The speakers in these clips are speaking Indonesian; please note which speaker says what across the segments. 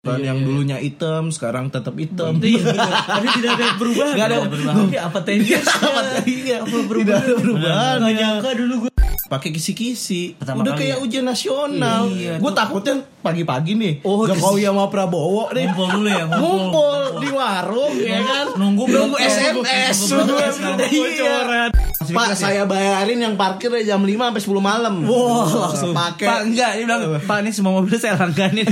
Speaker 1: kan
Speaker 2: Iya,
Speaker 1: yang
Speaker 2: iya.
Speaker 1: dulunya item sekarang tetap item
Speaker 2: Iya, benar. Tapi tidak ada perubahan.
Speaker 1: Nggak ada perubahan.
Speaker 2: Oke, apa tendensi?
Speaker 1: Apa
Speaker 2: Iya, apa Iya.
Speaker 1: tidak
Speaker 2: perubahan?
Speaker 1: ada perubahan
Speaker 2: Nggak nyangka dulu gue.
Speaker 1: pakai kisi-kisi
Speaker 2: Pertama
Speaker 1: udah
Speaker 2: kali
Speaker 1: kayak
Speaker 2: ya?
Speaker 1: ujian nasional
Speaker 2: Iya,
Speaker 1: gue takutnya pagi-pagi nih
Speaker 2: Oh,
Speaker 1: Jokowi sama Prabowo nih
Speaker 2: Ngumpul dulu ya, ngumpul. Iya
Speaker 1: ngumpul di warung ya kan
Speaker 2: Nunggu
Speaker 1: nunggu
Speaker 2: broadcast,
Speaker 1: SMS
Speaker 2: nunggu
Speaker 1: Nunggu
Speaker 2: broadcast, nunggu bocoran.
Speaker 1: Pak
Speaker 2: ya?
Speaker 1: saya bayarin yang parkir dari jam 5 sampai 10 malam
Speaker 2: Wah, langsung.
Speaker 1: pakai
Speaker 2: Pak enggak, dia bilang, "Pak ini semua mobil saya langganin."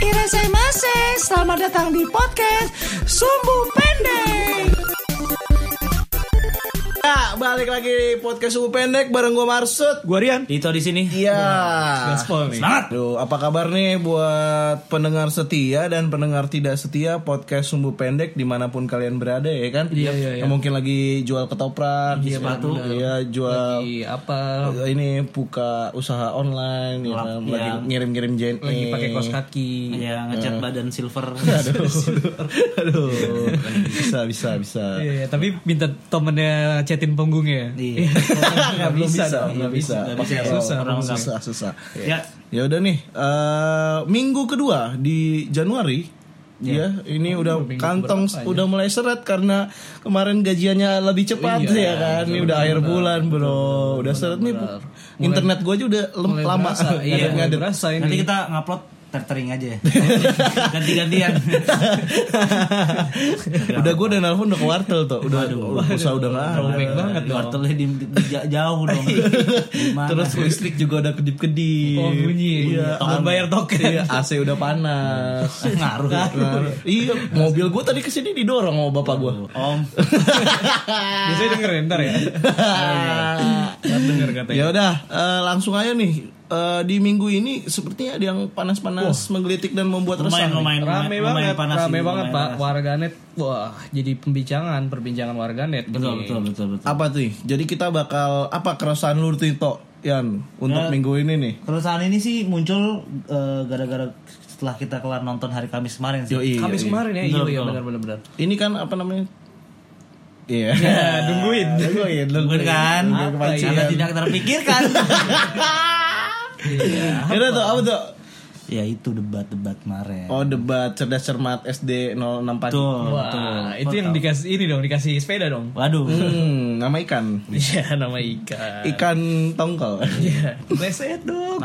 Speaker 3: Irasemase, selamat datang di podcast Sumbu Pendek.
Speaker 1: Ya, balik lagi di podcast Suku Pendek bareng gue Marsud
Speaker 2: Gua Rian. Dito di sini.
Speaker 1: Iya.
Speaker 2: Gaspol nih. Semangat.
Speaker 1: Aduh, apa kabar nih buat pendengar setia dan pendengar tidak setia podcast Sumbu Pendek dimanapun kalian berada ya kan?
Speaker 2: Iya, iya, iya.
Speaker 1: Yang mungkin lagi jual ketoprak,
Speaker 2: Iya, Batu.
Speaker 1: Iya, jual
Speaker 2: Lagi apa?
Speaker 1: eh, ini buka usaha online, ya, kan?
Speaker 2: Iya.
Speaker 1: lagi ngirim-ngirim eh, JNE.
Speaker 2: Lagi pakai kaos kaki.
Speaker 4: Ya ngecat badan silver.
Speaker 1: Aduh, bisa, bisa, bisa.
Speaker 2: Iya, iya, tapi minta temennya chatin punggungnya.
Speaker 4: Iya.
Speaker 1: Nggak bisa, dong, nggak
Speaker 2: nggak
Speaker 1: bisa.
Speaker 4: nggak
Speaker 1: Pakai
Speaker 4: bisa.
Speaker 1: roll.
Speaker 2: Susah,
Speaker 1: Orang
Speaker 2: susah. Iya.
Speaker 1: susah, susah.
Speaker 4: ya,
Speaker 1: Ya udah nih, eh, minggu kedua di Januari ya,
Speaker 2: Iya.
Speaker 1: ini udah kantong udah mulai seret karena kemarin gajiannya lebih cepat
Speaker 2: Iya,
Speaker 1: ya kan. Ini udah akhir bulan, Bro. udah seret nih. Internet gue aja udah lem- lama.
Speaker 2: berasa, iya,
Speaker 1: Ngadet-
Speaker 2: mulai
Speaker 1: ngadet.
Speaker 2: berasa ini.
Speaker 4: Ya, nanti kita ngupload tertering aja. ya. Ganti-gantian.
Speaker 1: udah gue udah nelpon udah ke wartel tuh. Udah usaha udah nggak ada.
Speaker 2: Robek banget
Speaker 4: Di
Speaker 2: dong.
Speaker 4: Wortelnya di, di- ja- jauh dong. Gimana?
Speaker 1: Terus listrik juga udah kedip-kedip.
Speaker 2: Oh, bunyi.
Speaker 1: Iya,
Speaker 2: Takut
Speaker 1: an-
Speaker 2: bayar Iya. token.
Speaker 1: Iya, AC udah panas.
Speaker 4: ngaruh.
Speaker 1: Nah, iya, mobil gue tadi kesini didorong sama bapak gue.
Speaker 4: Om,
Speaker 2: Biasanya denger ya, ntar ya. Ntar denger katanya.
Speaker 1: Iya. Ya udah, eh, langsung aja nih. Eh, di minggu ini sepertinya ada yang panas-panas menggelitik dan membuat resah. nih.
Speaker 4: lumayan, lumayan, lumayan,
Speaker 2: Rame
Speaker 4: lumayan
Speaker 2: banget,
Speaker 4: panas
Speaker 2: rame
Speaker 4: sih,
Speaker 2: banget
Speaker 4: lumayan
Speaker 2: pak.
Speaker 4: panas.
Speaker 2: Warganet, wah jadi pembincangan, perbincangan warganet. Iya,
Speaker 4: Betul,
Speaker 2: Ini.
Speaker 4: betul, betul, betul.
Speaker 1: Apa tuh? Jadi kita bakal apa keresahan lu Tito Yan untuk
Speaker 4: Ya.
Speaker 1: minggu ini nih.
Speaker 4: Keresahan ini sih muncul eh, gara-gara setelah kita kelar nonton hari Kamis kemarin sih.
Speaker 1: Yoi.
Speaker 2: Kamis
Speaker 1: Yoi.
Speaker 2: kemarin ya, iya
Speaker 4: Betul,
Speaker 2: iya
Speaker 4: betul.
Speaker 2: benar benar benar.
Speaker 1: Ini kan apa namanya? Iya.
Speaker 2: Nungguin.
Speaker 1: Nungguin,
Speaker 4: Bener kan?
Speaker 1: Nungguin
Speaker 4: Apa ya?
Speaker 1: kepancian.
Speaker 4: Karena tidak terpikirkan.
Speaker 1: Yaudah tuh, apa tuh?
Speaker 4: ya itu debat-debat kemarin.
Speaker 1: Oh debat cerdas cermat SD 06 pagi.
Speaker 4: Betul, betul.
Speaker 2: Wah, itu yang dikasih ini dong, dikasih sepeda dong.
Speaker 4: Waduh.
Speaker 1: Hmm, nama ikan.
Speaker 2: Iya, nama Ika.
Speaker 1: Ikan tongkol.
Speaker 2: Iya, reset dong.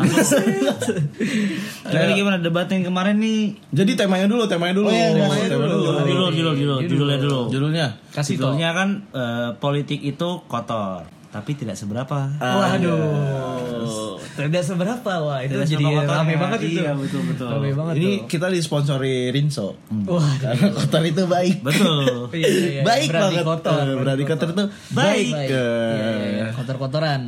Speaker 4: Jadi gimana debatin kemarin nih?
Speaker 1: Jadi temanya dulu, temanya dulu. temanya dulu.
Speaker 4: Judul, judul, judul, judulnya dulu.
Speaker 1: Judulnya.
Speaker 2: Kasih toh.
Speaker 4: Judulnya kan eh, politik itu kotor, tapi tidak seberapa.
Speaker 2: Ah. Waduh. Tidak seberapa wah, itu
Speaker 4: Tidak
Speaker 2: jadi
Speaker 4: seberapa kotornya.
Speaker 2: rame banget itu.
Speaker 4: Iya, betul, betul.
Speaker 2: Rame banget
Speaker 1: Ini
Speaker 2: ini.
Speaker 1: kita disponsori Rinso.
Speaker 2: Wah,
Speaker 1: Karena kotor itu baik.
Speaker 4: Betul.
Speaker 2: iya, iya, iya.
Speaker 1: baik
Speaker 2: Berarti
Speaker 1: banget.
Speaker 2: kotor.
Speaker 1: Eh, Berarti kotor itu baik.
Speaker 4: Baik.
Speaker 2: Baik.
Speaker 1: Eh,
Speaker 2: Iya, iya, iya. Kotor-kotoran.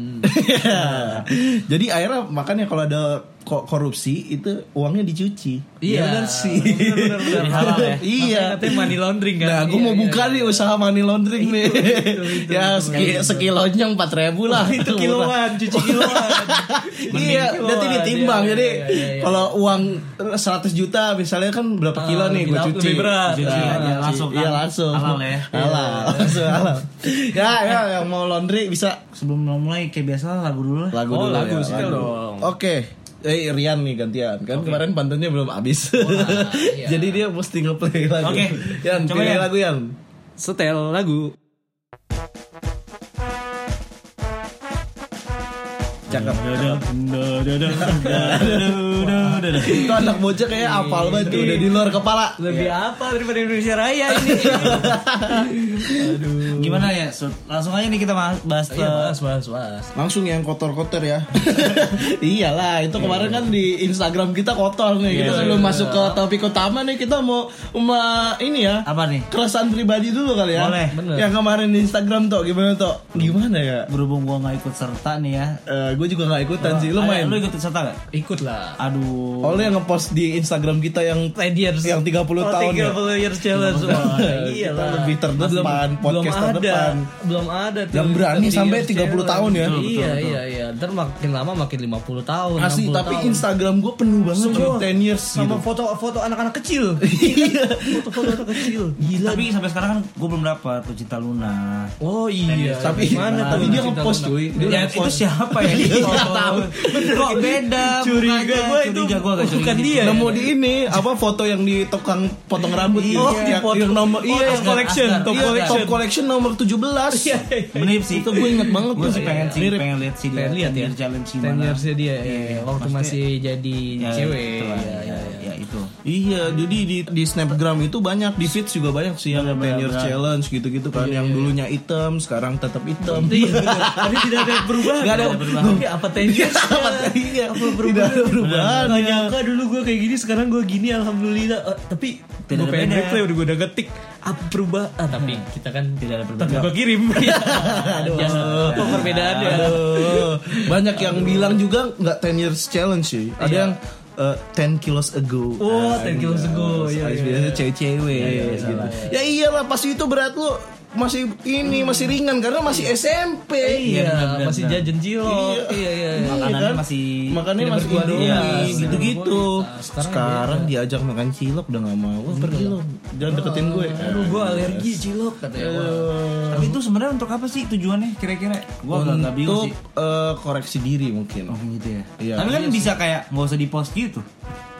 Speaker 1: Jadi akhirnya makanya kalau ada ko- korupsi itu uangnya dicuci.
Speaker 2: Iya,
Speaker 1: benar sih.
Speaker 2: benar, benar, benar.
Speaker 4: Halal ya.
Speaker 1: Iya.
Speaker 2: Makanya Katanya money laundering kan.
Speaker 1: Nah, gue
Speaker 2: Iya,
Speaker 1: mau
Speaker 2: iya,
Speaker 1: buka nih usaha money laundering nih. ya, seki- sekilonya empat ribu lah.
Speaker 2: Itu kiloan, cuci kiloan. Mending
Speaker 1: iya,
Speaker 2: kiloan,
Speaker 1: nanti ditimbang.
Speaker 2: iya,
Speaker 1: Jadi
Speaker 2: iya, iya, iya.
Speaker 1: kalau uang 100 juta misalnya kan berapa kilo
Speaker 2: Ah,
Speaker 1: nih
Speaker 2: lebih
Speaker 1: gue
Speaker 2: lau-
Speaker 1: cuci.
Speaker 2: lebih berat.
Speaker 4: Cuci
Speaker 1: Nah,
Speaker 4: aja, langsung
Speaker 1: Iya,
Speaker 4: kan?
Speaker 1: langsung.
Speaker 4: Halal ya.
Speaker 1: Halal,
Speaker 2: Iya,
Speaker 1: langsung halal. Ya, ya yang mau laundry bisa
Speaker 4: Sebelum mulai kayak biasa lagu dulu lah.
Speaker 1: lagu
Speaker 2: Oh,
Speaker 1: dulu.
Speaker 2: lagu,
Speaker 1: ya,
Speaker 2: setel dong.
Speaker 1: Oke. Eh Rian nih gantian kan kemarin pantunnya belum habis.
Speaker 2: iya.
Speaker 1: Jadi dia mesti ngeplay lagu.
Speaker 4: Oke.
Speaker 1: Yan,
Speaker 4: Coba,
Speaker 1: pilih
Speaker 4: Yan.
Speaker 1: lagu Yan.
Speaker 2: Setel lagu.
Speaker 1: Cakep. Itu anak bocah kayak apal banget tuh, udah di luar kepala.
Speaker 2: Lebih apa daripada Indonesia Raya ini?
Speaker 4: Gimana ya? Sud? Langsung aja nih kita bahas, bahas eh,
Speaker 2: Iya,
Speaker 4: ke-
Speaker 2: mas, mas, mas.
Speaker 1: Langsung yang kotor-kotor ya. Iyalah, itu kemarin kan di Instagram kita kotor nih. Kita sebelum masuk ke topik utama nih kita mau ma- ini ya.
Speaker 4: apa nih?
Speaker 1: Keresahan pribadi dulu kali ya.
Speaker 4: Boleh,
Speaker 2: bener.
Speaker 1: Yang kemarin di Instagram tuh gimana tuh? Gimana ya?
Speaker 4: Berhubung gua nggak ikut serta nih ya.
Speaker 1: Eh, Gua gue juga nggak ikutan sih. Lu
Speaker 4: Ada-
Speaker 1: main?
Speaker 4: Lu ikut serta gak?
Speaker 2: Ikut lah.
Speaker 4: Aduh.
Speaker 1: Oh, lu yang ngepost di Instagram kita yang
Speaker 2: Ten years.
Speaker 1: yang 30
Speaker 2: Oh,
Speaker 1: tahun ya.
Speaker 2: 30 years challenge. Wah,
Speaker 1: Kita
Speaker 2: iya lah.
Speaker 1: lebih terdepan, podcast
Speaker 2: belum ada,
Speaker 1: terdepan.
Speaker 2: Belum ada. tuh
Speaker 1: Yang berani
Speaker 2: 30
Speaker 1: sampai
Speaker 2: years
Speaker 1: 30 tahun ya.
Speaker 2: challenge.
Speaker 1: Betul,
Speaker 2: Iya, iya, iya. Ntar makin lama makin 50 tahun.
Speaker 1: Asli,
Speaker 2: 60
Speaker 1: tapi
Speaker 2: tahun.
Speaker 1: Instagram gue penuh banget
Speaker 2: Semua.
Speaker 1: cuy, 10 years
Speaker 2: sama
Speaker 1: gitu.
Speaker 2: foto-foto anak-anak kecil. kan?
Speaker 1: Iya.
Speaker 2: Foto-foto anak kecil. Gila.
Speaker 4: Tapi sampai sekarang kan gue belum dapat tuh cinta Luna.
Speaker 2: Oh iya,
Speaker 1: tapi
Speaker 2: mana
Speaker 1: tapi dia ngepost cuy. Dia
Speaker 4: Ya, itu
Speaker 1: ngepost.
Speaker 4: siapa ya? Nggak tahu. Kok beda?
Speaker 2: Curiga
Speaker 4: mukanya?
Speaker 2: gue itu
Speaker 4: Curiga gue agak
Speaker 2: bukan
Speaker 4: curiga.
Speaker 2: dia. ya?
Speaker 1: nemu di ini apa foto yang di tukang potong rambut gitu.
Speaker 2: Oh, di
Speaker 1: yang,
Speaker 2: foto-
Speaker 1: yang nomor
Speaker 2: oh,
Speaker 1: iya
Speaker 2: top
Speaker 1: yang-
Speaker 2: collection,
Speaker 1: iya,
Speaker 2: top
Speaker 1: top
Speaker 2: collection.
Speaker 1: collection nomor 17. Iya.
Speaker 4: Menip sih.
Speaker 1: Itu gue inget banget
Speaker 4: Gue
Speaker 1: tuh.
Speaker 4: sih pengen sih
Speaker 1: Mirip.
Speaker 4: pengen lihat sih dia.
Speaker 2: Pengen lihat ya.
Speaker 4: Tenir challenge sih
Speaker 2: Ten
Speaker 4: mana.
Speaker 2: yearsnya dia ya,
Speaker 4: Iya,
Speaker 2: waktu
Speaker 4: maksudnya-
Speaker 2: masih jadi
Speaker 4: Ya,
Speaker 2: cewek.
Speaker 4: itu lah,
Speaker 2: Iya,
Speaker 4: ya,
Speaker 2: iya, iya.
Speaker 4: ya, itu.
Speaker 1: Iya, jadi di di Snapgram itu banyak, di feeds juga banyak sih
Speaker 2: Iya,
Speaker 1: yang 10 year challenge gitu-gitu kan, yang dulunya item, sekarang tetap item.
Speaker 2: Tapi Iya, tidak ada perubahan.
Speaker 1: Gak ada perubahan.
Speaker 2: Tapi apa ten years?
Speaker 1: Apa iya, tidak ada perubahan. ya.
Speaker 2: Gak nyangka dulu gue kayak gini sekarang gue gini alhamdulillah Eh, tapi
Speaker 4: Tidak
Speaker 2: gue
Speaker 4: ada
Speaker 2: pengen
Speaker 4: beda.
Speaker 2: replay udah gue udah ketik apa perubahan Ah, tapi kita kan
Speaker 4: Tidak ada perbedaan.
Speaker 2: tetap gue kirim
Speaker 4: Iya,
Speaker 2: aduh apa perbedaannya
Speaker 1: Aduh. Banyak yang bilang juga nggak 10 years challenge sih. Ada yang eh, 10 kilos ago.
Speaker 2: Oh,
Speaker 1: Ah,
Speaker 2: 10 kilos ago. Iya,
Speaker 1: Biasanya
Speaker 2: iya, iya.
Speaker 1: cewek-cewek gitu. Ya iyalah pasti itu berat lu masih ini masih ringan karena masih SMP.
Speaker 2: iya
Speaker 4: benar-benar.
Speaker 2: masih jajan cilok iya iya iya.
Speaker 4: Makanannya
Speaker 1: kan?
Speaker 4: masih-
Speaker 1: makannya
Speaker 2: Tidak
Speaker 1: masih
Speaker 2: berkualitas.
Speaker 1: indomie
Speaker 2: Iya,
Speaker 1: gitu-gitu.
Speaker 2: tidak berkualitas.
Speaker 1: Sekarang,
Speaker 2: Sekarang
Speaker 1: diajak makan cilok udah nggak mau. Wah, pergi lo, jangan deketin gue.
Speaker 2: aduh gue alergi cilok katanya Wah.
Speaker 4: Tapi itu sebenarnya untuk apa sih tujuannya kira-kira? Gue agak nggak bingung
Speaker 1: Untuk
Speaker 4: sih.
Speaker 1: eh, koreksi diri mungkin.
Speaker 4: Oh gitu ya.
Speaker 1: Iya.
Speaker 4: Tapi kan bisa kayak nggak usah di post gitu.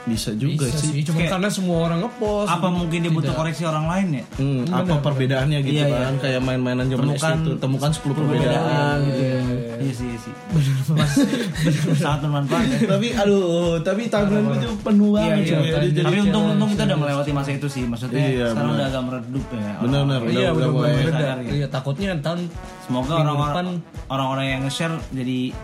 Speaker 1: Bisa juga Iya,
Speaker 2: Bisa
Speaker 1: sih.
Speaker 2: sih, cuma
Speaker 4: Kayak- Ah,
Speaker 2: karena semua orang ngepost
Speaker 4: Apa mungkin dia butuh koreksi orang lain ya?
Speaker 1: Hmm, apa perbedaannya gitu
Speaker 4: Iya,
Speaker 1: kan kayak main-mainan zaman SD
Speaker 4: Temukan-
Speaker 1: itu temukan 10 perbedaan
Speaker 4: Perbedaan gitu. ya. Iya sih, iya sih. Mas, sangat bermanfaat. ya.
Speaker 1: tapi aduh tapi timeline gue tuh penuh
Speaker 4: Iya,
Speaker 1: banget
Speaker 4: iya.
Speaker 1: cuy. Dia Iya, jadi
Speaker 4: Tapi untung untung kita udah melewati masa itu sih. Maksudnya
Speaker 1: Iya,
Speaker 4: sekarang
Speaker 1: benar.
Speaker 4: udah agak meredup ya.
Speaker 1: benar-benar
Speaker 4: Orang-
Speaker 1: udah,
Speaker 2: iya
Speaker 1: udah
Speaker 2: udah mulai
Speaker 1: mulai
Speaker 4: sadar ya.
Speaker 2: iya takutnya tahun
Speaker 4: Semoga
Speaker 2: Minggu
Speaker 4: orang-orang
Speaker 2: depan-
Speaker 4: orang-orang yang nge-share jadi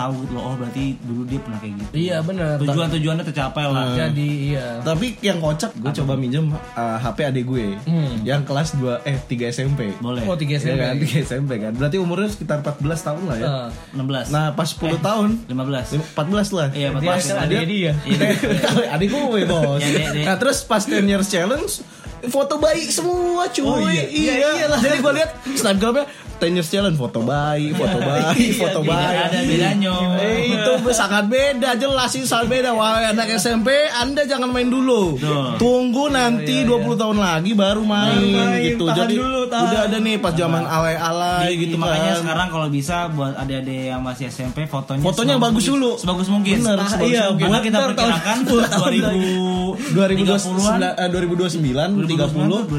Speaker 4: tahu gitu loh. Oh berarti dulu dia pernah kayak gitu.
Speaker 2: Iya, benar.
Speaker 4: Tujuan-tujuannya tercapai lah.
Speaker 2: jadi iya
Speaker 1: tapi yang kocak gue coba minjem uh, HP adik gue
Speaker 2: Hmm.
Speaker 1: yang kelas 2 eh 3 SMP
Speaker 4: Boleh.
Speaker 2: oh tiga
Speaker 1: Iya
Speaker 2: SMP
Speaker 1: kan 3 SMP kan berarti umurnya sekitar 14 tahun lah ya
Speaker 2: Eh,
Speaker 4: 16.
Speaker 1: nah pas 10 tahun
Speaker 4: 15.
Speaker 1: 14 lah
Speaker 4: Iya,
Speaker 2: dia
Speaker 4: pas
Speaker 2: kan adiknya dia
Speaker 1: adik gue bos
Speaker 4: Iya, iya, iya.
Speaker 1: nah terus pas 10 years challenge foto bayi semua cuy
Speaker 2: Oh, iya.
Speaker 1: iya,
Speaker 2: Iya, iyalah.
Speaker 1: jadi gue lihat snapgramnya 10 years challenge foto bayi foto
Speaker 2: Iya,
Speaker 1: bayi foto bayi
Speaker 4: Ada bedanya.
Speaker 1: Eh, itu sangat beda jelas sih sangat beda wahai anak SMP anda jangan main dulu
Speaker 4: Betul.
Speaker 1: tunggu nanti 20 tahun lagi baru main,
Speaker 2: Iya, main,
Speaker 1: gitu
Speaker 2: tahan
Speaker 1: jadi
Speaker 2: dulu, tahan.
Speaker 1: udah ada nih pas zaman alay-alay gitu
Speaker 4: Gitu, makanya
Speaker 1: kan.
Speaker 4: sekarang kalau bisa buat adik-adik yang masih SMP fotonya
Speaker 1: Fotonya
Speaker 4: sebagus-
Speaker 1: bagus dulu.
Speaker 4: sebagus mungkin.
Speaker 1: Bener,
Speaker 4: Ah,
Speaker 1: sebagus
Speaker 4: iya,
Speaker 1: mungkin.
Speaker 4: karena kita
Speaker 1: Ntar tahun-
Speaker 4: perkirakan
Speaker 1: sepuluh tahun lagi.
Speaker 4: 2030-an
Speaker 1: 2029 eh,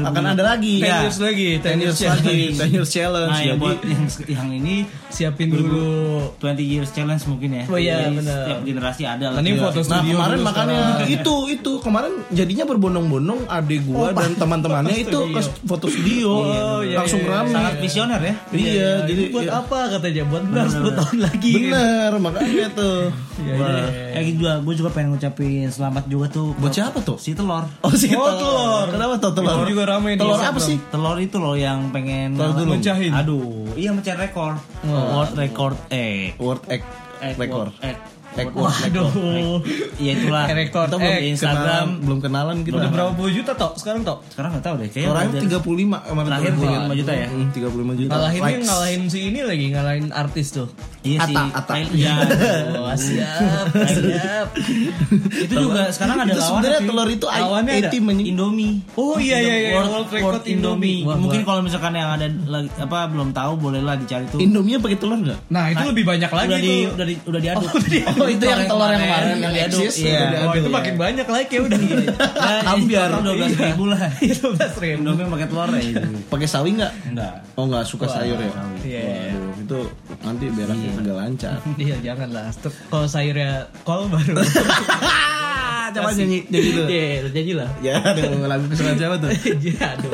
Speaker 1: 2029 30 akan ada lagi Ya.
Speaker 2: 10
Speaker 4: Iya.
Speaker 2: years lagi 10
Speaker 1: 10 years lagi 10 years challenge
Speaker 4: Nah, ya
Speaker 1: jadi
Speaker 4: buat yang, yang ini
Speaker 2: siapin dulu
Speaker 4: 20 years challenge mungkin ya.
Speaker 2: Oh, iya,
Speaker 4: Jadi
Speaker 2: bener.
Speaker 4: Setiap generasi ada lah. Iya.
Speaker 2: Ini
Speaker 4: Gila.
Speaker 2: foto
Speaker 1: Nah
Speaker 2: studio
Speaker 1: kemarin
Speaker 2: dulu
Speaker 1: makanya
Speaker 2: sekarang.
Speaker 1: itu itu kemarin jadinya berbondong-bondong adik
Speaker 2: Oh,
Speaker 1: gua dan teman-temannya itu ke foto studio
Speaker 4: Oh,
Speaker 2: iya,
Speaker 1: langsung
Speaker 2: iya,
Speaker 1: rame.
Speaker 4: sangat visioner ya.
Speaker 1: Iya, jadi
Speaker 2: buat
Speaker 1: iya.
Speaker 2: apa katanya buat benar 10 tahun lagi
Speaker 1: bener makanya tuh. Wah.
Speaker 4: Kayak gitu juga, gue juga pengen ngucapin selamat juga tuh.
Speaker 1: iya. Buat siapa tuh?
Speaker 4: Si telur.
Speaker 1: Oh sih
Speaker 2: Oh, telur.
Speaker 1: Kenapa tuh telur?
Speaker 2: Telur juga rame di
Speaker 1: Telur apa
Speaker 2: Instagram.
Speaker 1: sih?
Speaker 4: Telur itu loh yang pengen
Speaker 1: Telur dulu.
Speaker 2: Mecahin.
Speaker 4: Aduh, iya mecah rekor. World record eh, egg.
Speaker 1: Word egg
Speaker 4: Egg,
Speaker 1: rekor.
Speaker 4: world egg.
Speaker 1: Egg word egg.
Speaker 2: waduh
Speaker 4: Iya itulah.
Speaker 2: Egg record
Speaker 4: Kita belum
Speaker 2: egg.
Speaker 4: di
Speaker 1: Instagram
Speaker 4: Instagram.
Speaker 1: belum eh, kenalan kita.
Speaker 2: udah berapa puluh juta tok sekarang tok
Speaker 1: Iya,
Speaker 4: Sekarang nggak tahu deh. Kayaknya
Speaker 1: Orangnya
Speaker 4: udah-
Speaker 1: 35 kemarin
Speaker 4: Iya, Terakhir
Speaker 1: tuh.
Speaker 4: 35 juta ya?
Speaker 1: Hmm, 35 juta.
Speaker 2: ngalahinnya
Speaker 1: Likes.
Speaker 2: ngalahin si ini lagi ngalahin artis tuh
Speaker 4: Iya sih.
Speaker 1: Atta, Atta.
Speaker 4: Kayak- Iya.
Speaker 1: Oh,
Speaker 2: Wah, siap siap
Speaker 4: itu juga sekarang ada
Speaker 1: Itu
Speaker 4: lawan
Speaker 1: sebenarnya telur itu
Speaker 2: Lawannya ada.
Speaker 1: A-team anjing.
Speaker 4: Indomie.
Speaker 2: oh iya iya iya
Speaker 4: World,
Speaker 2: world
Speaker 4: World
Speaker 2: record
Speaker 4: Indomie.
Speaker 2: Indomie Wah,
Speaker 4: Mungkin
Speaker 2: wah.
Speaker 4: kalau misalkan yang ada lagi, apa belum tahu bolehlah dicari tuh.
Speaker 1: Indomie pakai telur enggak?
Speaker 2: nah itu lebih banyak lagi
Speaker 4: udah di
Speaker 2: tuh
Speaker 4: udah di udah diaduk.
Speaker 1: Oh, itu yang telur yang kemarin yang
Speaker 4: diaduk.
Speaker 1: eksis, itu
Speaker 4: Iya.
Speaker 1: diaduk.
Speaker 2: Wah, Oh, itu
Speaker 1: Iya.
Speaker 2: makin banyak like ya udah.
Speaker 4: Ambiar. Dua Nah, belas
Speaker 2: Iya.
Speaker 4: ribu lah.
Speaker 1: Iya,
Speaker 2: Itu belas ribu.
Speaker 4: Indomie pakai telur ya. itu.
Speaker 1: Pakai sawi enggak?
Speaker 4: Enggak.
Speaker 1: Oh nggak suka sayur ya?
Speaker 2: Iya.
Speaker 1: Waduh, itu nanti beraknya nggak lancar.
Speaker 2: Iya jangan lah. Ter- Kalau sayurnya kol baru.
Speaker 4: Ah,
Speaker 1: Coba nyanyi nyanyi dulu.
Speaker 2: Iya jadi lah.
Speaker 1: Ya, dengan lagu kesukaan siapa tuh?
Speaker 2: Iya aduh.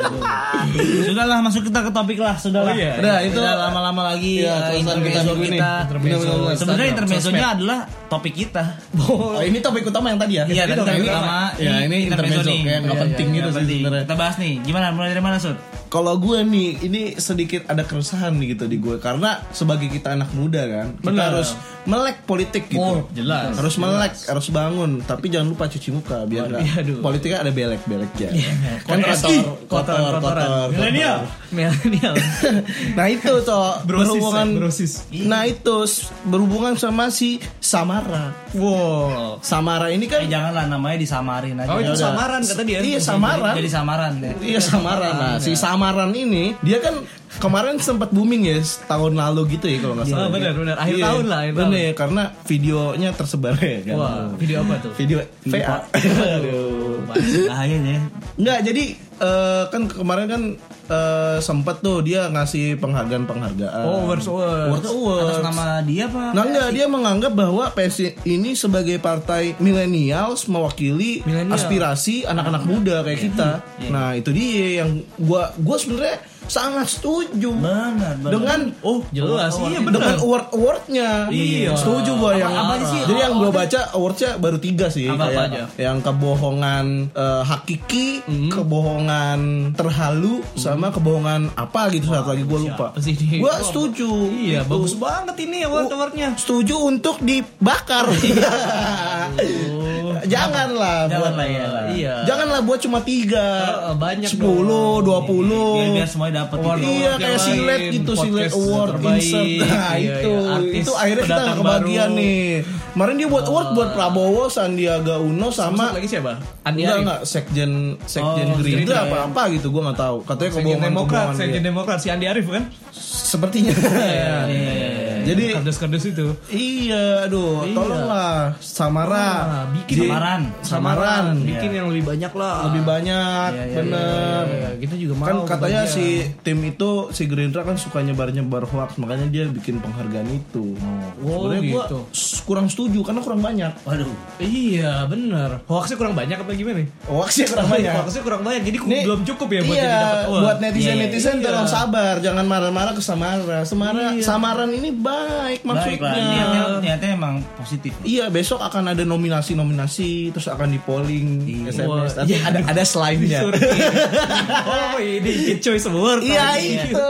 Speaker 4: Sudahlah masuk kita ke topik lah, sudahlah.
Speaker 2: Oh, iya.
Speaker 1: Udah, itu-
Speaker 4: Udah lama-lama lagi
Speaker 1: Iya, keresahan
Speaker 4: eh,
Speaker 1: kita
Speaker 4: intermezzo
Speaker 1: minggu ini.
Speaker 4: kita.
Speaker 1: Intermezzo.
Speaker 4: Intermezzo. Sebenarnya
Speaker 1: Instagram,
Speaker 4: intermezzonya adalah topik kita.
Speaker 1: Oh, ini topik utama yang tadi ya?
Speaker 4: Iya,
Speaker 1: Ini
Speaker 4: tadi
Speaker 1: topik
Speaker 4: topik utama.
Speaker 1: Ya,
Speaker 4: Ini
Speaker 1: ini
Speaker 4: intermezzo
Speaker 1: intermezzo
Speaker 4: nih.
Speaker 1: kayak nggak
Speaker 4: Iya,
Speaker 1: penting
Speaker 4: iya,
Speaker 1: gitu
Speaker 4: nggak
Speaker 1: sih
Speaker 4: penting.
Speaker 1: sebenarnya.
Speaker 4: Kita bahas nih, gimana mulai dari mana, Sud?
Speaker 1: kalau gue nih ini sedikit ada keresahan nih gitu di gue karena sebagai kita anak muda kan kita
Speaker 2: Benar.
Speaker 1: harus melek politik gitu.
Speaker 2: Oh, jelas,
Speaker 1: Harus melek, harus bangun, tapi jangan lupa cuci muka biar nggak-
Speaker 2: aduh. Iya,
Speaker 1: politiknya ada belek-beleknya. kan
Speaker 2: Kotor,
Speaker 1: kotor, kotor,
Speaker 2: kotor,
Speaker 1: kotor. kotor.
Speaker 2: Milenial. Milenial.
Speaker 1: nah itu toh
Speaker 2: Brosis,
Speaker 1: berhubungan
Speaker 2: ya, brosis.
Speaker 1: Nah itu s- berhubungan sama si Samara.
Speaker 2: Wow.
Speaker 1: Samara ini kan
Speaker 4: Eh, janganlah namanya disamarin aja.
Speaker 2: Oh, itu
Speaker 4: Ya udah.
Speaker 2: samaran kata dia.
Speaker 1: Iya, samaran.
Speaker 4: Jadi samaran deh.
Speaker 1: Iya samaran. Nah, si samaran ini dia kan kemarin sempat booming ya tahun lalu gitu ya kalau nggak salah.
Speaker 2: Oh, benar, benar. Akhir tahun lah, akhir
Speaker 1: Benar karena videonya tersebar ya kan.
Speaker 2: Wah, video apa tuh?
Speaker 1: Video VA. Aduh.
Speaker 4: Bahaya deh.
Speaker 1: Nggak, jadi eh, kan kemarin kan eh, sempat tuh dia ngasih penghargaan-penghargaan.
Speaker 2: Oh, awards, awards.
Speaker 1: Awards, awards.
Speaker 4: Atas nama dia apa?
Speaker 1: Nah enggak dia menganggap bahwa PSI ini sebagai partai milenials mewakili
Speaker 2: Milenial. Iya.
Speaker 1: aspirasi anak-anak muda kayak kita. Nah, itu dia yang gua gua sebenarnya sangat setuju.
Speaker 4: Benar, benar.
Speaker 1: Dengan oh
Speaker 2: Nah, Jelas. Iya
Speaker 1: dengan
Speaker 2: benar.
Speaker 1: award awardnya
Speaker 2: Iya.
Speaker 1: setuju gua yang
Speaker 2: apa aja sih?
Speaker 1: jadi yang gua baca awardsnya baru tiga sih
Speaker 2: Apa-apa
Speaker 1: Kayak
Speaker 2: aja? Mm-hmm.
Speaker 1: yang kebohongan eh, hakiki kebohongan terhalu sama kebohongan apa gitu satu lagi gua lupa
Speaker 2: siapa sih ini?
Speaker 1: gua
Speaker 2: Gua-
Speaker 1: setuju
Speaker 2: Iya,
Speaker 1: Gitu.
Speaker 2: bagus banget ini award-awardnya.
Speaker 1: setuju untuk dibakar
Speaker 2: Oh.
Speaker 1: janganlah buat
Speaker 4: Janganlah, iyalah.
Speaker 2: Iya.
Speaker 1: janganlah buat cuma tiga
Speaker 2: Eh, eh, banyak
Speaker 1: sepuluh dua puluh
Speaker 4: Iya, Biar, biar semuanya dapat
Speaker 2: Award-
Speaker 4: gitu.
Speaker 1: Iya
Speaker 2: award
Speaker 1: kayak
Speaker 2: yang
Speaker 1: silet
Speaker 2: lain,
Speaker 1: gitu silet
Speaker 2: podcast
Speaker 1: award
Speaker 2: terbaik,
Speaker 1: insert. Nah
Speaker 2: iya,
Speaker 1: itu
Speaker 2: iya, artis
Speaker 1: itu akhirnya kita nggak
Speaker 2: pendatang
Speaker 1: kebagian
Speaker 2: baru.
Speaker 1: nih. Kemarin dia buat award buat Prabowo, Sandiaga Uno
Speaker 2: Maksud
Speaker 1: sama
Speaker 2: lagi siapa? Andi
Speaker 1: enggak
Speaker 2: Arief.
Speaker 1: enggak sekjen sekjen
Speaker 2: Oh,
Speaker 1: Gerindra
Speaker 2: Gerindra,
Speaker 1: apa apa gitu gua nggak tahu. Katanya
Speaker 2: Sekjen
Speaker 1: kebohongan
Speaker 2: Demokrat,
Speaker 1: kebohongan
Speaker 2: Sekjen Iya, Demokrat si Andi Arief kan?
Speaker 1: Sepertinya. Eh. Jadi
Speaker 2: Kardus-kardus itu.
Speaker 1: Iya, aduh, tolonglah Samara,
Speaker 2: Ah,
Speaker 1: J-
Speaker 2: bikin Iya.
Speaker 4: samaran.
Speaker 1: Samaran, Iya.
Speaker 2: Bikin yang lebih banyak lah.
Speaker 1: lebih banyak,
Speaker 2: iya,
Speaker 1: bener.
Speaker 2: Ya, kita juga mau.
Speaker 1: kan katanya
Speaker 2: bagian.
Speaker 1: si tim itu si Gerindra kan suka nyebar nyebar hoax makanya dia bikin penghargaan itu.
Speaker 2: Oh,
Speaker 1: Sebenarnya gua
Speaker 2: gitu.
Speaker 1: s- kurang setuju karena kurang banyak.
Speaker 4: Waduh.
Speaker 2: Iya, bener. Hoaxnya kurang banyak apa gimana?
Speaker 1: Hoaxnya kurang banyak.
Speaker 2: Hoaxnya ya, kurang banyak, jadi
Speaker 1: Oh, iya. Nih,
Speaker 2: belum cukup ya buat
Speaker 1: iya,
Speaker 2: jadi dapat uang.
Speaker 1: buat netizen netizen
Speaker 2: Iya.
Speaker 1: tolong sabar jangan marah-marah ke Samara. Samara samaran ini baik
Speaker 4: Baik
Speaker 1: maksudnya.
Speaker 4: lah. Niatnya, niatnya emang positif.
Speaker 1: Iya besok akan ada nominasi-nominasi terus akan di polling SMS.
Speaker 2: Wah,
Speaker 1: Nanti ada ada slime-nya.
Speaker 2: oh, ini Kid Choice Award.
Speaker 1: Iya
Speaker 2: tadi.
Speaker 1: itu.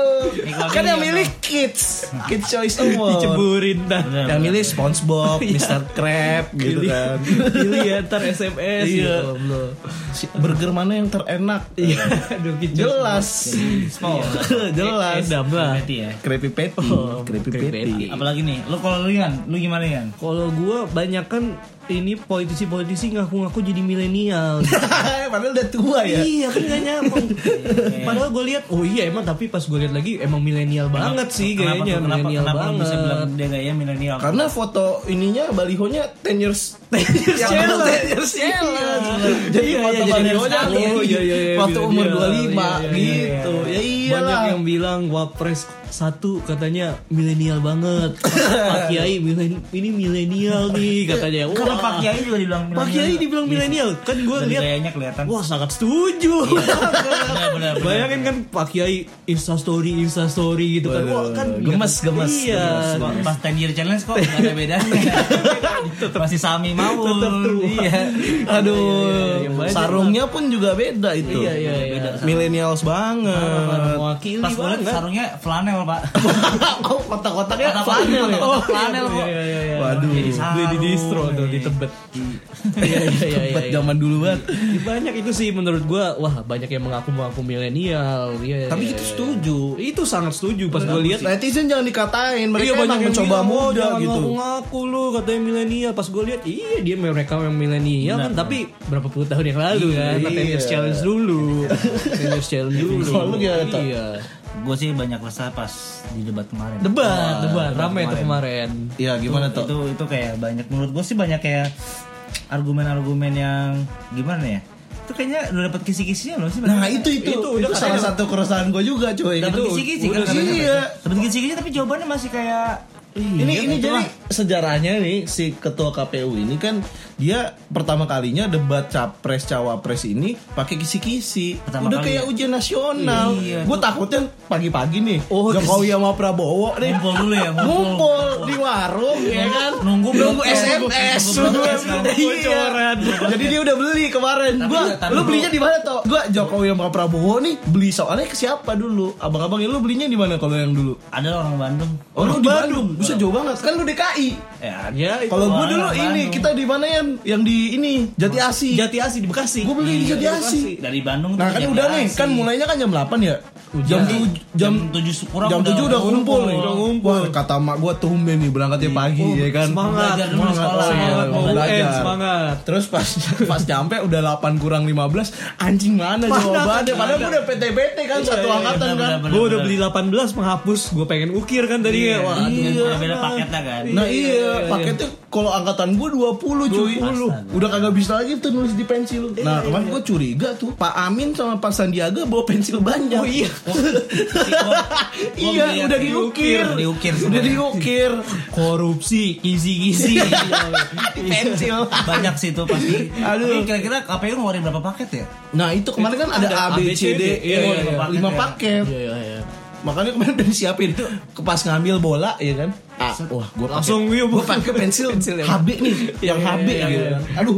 Speaker 1: kan yang milih kids, kids choice award.
Speaker 2: Diceburin dah.
Speaker 4: Iya.
Speaker 1: Yang milih SpongeBob,
Speaker 2: Iya.
Speaker 1: Mr. Crab gitu
Speaker 2: Pilih-
Speaker 1: kan.
Speaker 2: Pilih ya, ntar SMS
Speaker 1: Iya.
Speaker 2: gitu. belum.
Speaker 1: Si Burger mana yang terenak?
Speaker 2: Iya, aduh Kid Choice
Speaker 1: Jelas. Jelas.
Speaker 2: Edam lah.
Speaker 4: Berarti ya.
Speaker 1: Creepy Patty, Creepy
Speaker 2: Creepy
Speaker 1: Patty.
Speaker 2: Patty.
Speaker 4: Apalagi nih, lu kalau lu Yan, lu gimana Yan?
Speaker 2: Kalau gue banyak kan ini politisi-politisi ngaku-ngaku jadi milenial.
Speaker 1: Padahal udah tua ya.
Speaker 2: Iya kan gak nyambung. Padahal gue lihat, oh iya emang tapi pas gue lihat lagi emang milenial banget sih
Speaker 4: Kenapa
Speaker 2: kayaknya
Speaker 4: tuh? kenapa,
Speaker 2: milenial
Speaker 4: kenapa lu
Speaker 2: banget.
Speaker 4: bisa bilang dia gaya milenial?
Speaker 1: Karena foto ininya balihonya 10 years 10 years
Speaker 2: challenge.
Speaker 1: 10 years challenge. Jadi
Speaker 2: Iya,
Speaker 1: foto
Speaker 2: iya, jadi
Speaker 1: balihonya
Speaker 2: sekali.
Speaker 1: tuh,
Speaker 2: Iya, iya, iya,
Speaker 1: foto
Speaker 2: iya,
Speaker 1: umur
Speaker 2: iya,
Speaker 1: 25
Speaker 2: iya, iya, iya.
Speaker 1: gitu. Ya
Speaker 2: Banyak
Speaker 1: iyalah.
Speaker 2: yang bilang wapres satu katanya milenial banget. Pak Kiai milen- ini milenial nih katanya. Wah,
Speaker 4: Karena Pak Kiai Iya. juga dibilang
Speaker 2: Pak Kiai dibilang milenial. Kan gue
Speaker 4: Dari
Speaker 2: lihat
Speaker 4: gayanya kelihatan.
Speaker 2: Wah sangat setuju.
Speaker 4: Kan- benar, benar.
Speaker 2: Bayangin kan Pak Kiai instastory instastory gitu kan. Wah kan
Speaker 1: Gemes, gemes,
Speaker 2: Iya.
Speaker 4: Pas- Pas 10 year challenge kok gak ada bedanya. Masih Sami Maul.
Speaker 2: Tetep true.
Speaker 4: Iya.
Speaker 1: Aduh,
Speaker 2: Iya, iya, iya.
Speaker 1: sarungnya pun juga beda itu.
Speaker 2: Iya, iya, iya.
Speaker 1: Millennials banget.
Speaker 2: Mewakili
Speaker 4: Pas gue liat
Speaker 2: banget.
Speaker 4: sarungnya flanel pak.
Speaker 1: Oh, kotak-kotaknya
Speaker 4: Kotak-kotak,
Speaker 1: flanel ya?
Speaker 4: kotak-kotak flanel kok.
Speaker 2: Iya, iya, iya.
Speaker 1: Waduh,
Speaker 4: Jadi sarung.
Speaker 2: Beli di distro tuh di Tebet. Iya iya iya, iya.
Speaker 1: Tempat zaman dulu banget.
Speaker 2: Banyak itu sih menurut gua wah banyak yang mengaku-ngaku milenial. Iya.
Speaker 1: Tapi
Speaker 2: iya,
Speaker 1: kita
Speaker 2: iya.
Speaker 1: setuju.
Speaker 2: itu sangat setuju pas gua lihat
Speaker 1: Netizen jangan dikatain, mereka emang
Speaker 2: yang
Speaker 1: mencoba
Speaker 2: bilang, "Oh,
Speaker 1: muda
Speaker 2: jangan
Speaker 1: gitu.
Speaker 2: Ngaku-ngaku lu katanya milenial. Pas gue lihat, iya dia mereka yang milenial kan, tapi berapa puluh tahun yang lalu kan. Nah, Ten years challenge dulu. Ten years challenge dulu.
Speaker 1: Kalau lu gimana, Tok?
Speaker 2: Iya.
Speaker 4: Gue sih banyak resah pas di debat kemarin.
Speaker 2: Debat,
Speaker 4: Wah,
Speaker 2: debat ramai tuh kemarin.
Speaker 1: Iya, gimana
Speaker 4: itu,
Speaker 1: tuh?
Speaker 4: itu itu kayak banyak menurut gue sih banyak kayak argumen-argumen yang gimana ya itu kayaknya udah dapat kisi-kisinya loh sih
Speaker 1: Nah, itu itu,
Speaker 2: Itu
Speaker 1: itu,
Speaker 2: udah
Speaker 1: salah
Speaker 2: kayaknya-
Speaker 1: satu keresahan gue juga, coy.
Speaker 4: dapat
Speaker 1: Itu-
Speaker 4: kisi-kisi
Speaker 1: gitu, udah
Speaker 4: kan
Speaker 1: sih,
Speaker 4: kadang-kadang.
Speaker 1: Iya.
Speaker 4: dapat kisi-kisi tapi jawabannya masih kayak
Speaker 1: Ini ini jadi sejarahnya nih si ketua KPU ini kan dia pertama kalinya debat capres cawapres ini pakai kisi-kisi.
Speaker 4: Pertama
Speaker 1: Udah
Speaker 4: kali ya?
Speaker 1: kayak ujian nasional.
Speaker 4: Iya,
Speaker 1: Gue takutnya pagi-pagi nih
Speaker 2: Oh,
Speaker 1: Jokowi sama Prabowo nih
Speaker 4: Ngumpul dulu ya, ngumpul.
Speaker 1: ngumpul di warung
Speaker 4: Iya,
Speaker 1: ya kan.
Speaker 4: Nunggu
Speaker 1: nunggu
Speaker 2: Iya.
Speaker 4: broadcast,
Speaker 1: SMS.
Speaker 4: nunggu broadcast, nunggu
Speaker 1: Iya. Jadi dia udah beli kemarin.
Speaker 4: Tapi
Speaker 1: Gua
Speaker 4: nggak, tapi
Speaker 1: lu
Speaker 4: bro-
Speaker 1: belinya di mana toh? Gua Jokowi sama Prabowo nih beli soalnya ke siapa dulu? Abang-abang ya lu belinya di mana kalau yang dulu?
Speaker 4: Ada orang Bandung.
Speaker 1: Oh, lu di Bandung. Bisa jauh banget. Kan lu DKI.
Speaker 4: Ya,
Speaker 2: Ya, itu.
Speaker 1: Kalau gue
Speaker 4: Wah,
Speaker 1: dulu
Speaker 4: Bandung.
Speaker 1: ini kita di mana ya? Yang di ini Jati Asi.
Speaker 2: Jati Asi di Bekasi.
Speaker 1: Gue beli di Jati Asi.
Speaker 4: dari Bandung.
Speaker 1: Nah
Speaker 4: tuh
Speaker 1: kan
Speaker 4: jam
Speaker 1: udah nih,
Speaker 4: berapa
Speaker 1: kan
Speaker 4: sih?
Speaker 1: mulainya kan jam 8 ya. Jam
Speaker 4: Iya.
Speaker 1: tu- jam
Speaker 4: Jam tujuh kurang
Speaker 1: Jam
Speaker 4: udah
Speaker 1: 7 udah ngumpul nih.
Speaker 2: Udah ngumpul.
Speaker 1: Wah, kata mak gue tumben nih berangkatnya pagi
Speaker 2: Iya
Speaker 1: ya kan.
Speaker 2: Oh, Semangat,
Speaker 4: Belajar dulu di sekolah.
Speaker 2: semangat,
Speaker 1: Mau
Speaker 2: mau
Speaker 1: belajar.
Speaker 2: UN, semangat.
Speaker 1: Terus pas pas nyampe udah 8 kurang 15, anjing mana jawabannya? Padahal gue udah PT-PT kan satu
Speaker 4: iya,
Speaker 1: angkatan
Speaker 4: benar,
Speaker 1: kan.
Speaker 4: benar,
Speaker 2: Gue udah beli 18 menghapus, gue pengen ukir kan tadi ya. Wah,
Speaker 4: Iya,
Speaker 1: Iya.
Speaker 4: beda paketnya kan.
Speaker 1: Nah
Speaker 2: Iya, iya,
Speaker 1: iya,
Speaker 2: iya.
Speaker 1: paketnya kalau angkatan gue 20 cuy.
Speaker 2: 20.
Speaker 1: Astaga. Udah kagak bisa lagi tuh nulis di pensil. Nah, kemarin gue curiga tuh Pak Amin sama Pak Sandiaga bawa pensil banyak.
Speaker 2: Oh iya.
Speaker 1: iya,
Speaker 4: Gua
Speaker 1: udah
Speaker 4: ngeliat
Speaker 1: diukir.
Speaker 4: Diukir
Speaker 1: Udah
Speaker 4: semuanya.
Speaker 1: diukir.
Speaker 2: korupsi, gizi-gizi.
Speaker 1: Di pensil.
Speaker 4: Banyak sih itu pasti.
Speaker 1: Aduh.
Speaker 4: Tapi kira-kira KPU ngeluarin berapa paket ya?
Speaker 1: Nah, itu kemarin kan ada A B C D
Speaker 2: Iya,
Speaker 1: E
Speaker 2: iya,
Speaker 4: iya.
Speaker 1: lima
Speaker 4: Paket ya.
Speaker 1: paket.
Speaker 2: Iya, iya, iya.
Speaker 1: Makanya kemarin udah disiapin itu kepas ngambil bola ya kan. Ah, wah, gue
Speaker 2: Langsung yuk,
Speaker 1: gue iya, pakai pensil,
Speaker 2: Pensil ya.
Speaker 1: HB nih, yang HB
Speaker 2: iya,
Speaker 1: gitu.
Speaker 2: iya.
Speaker 1: Aduh.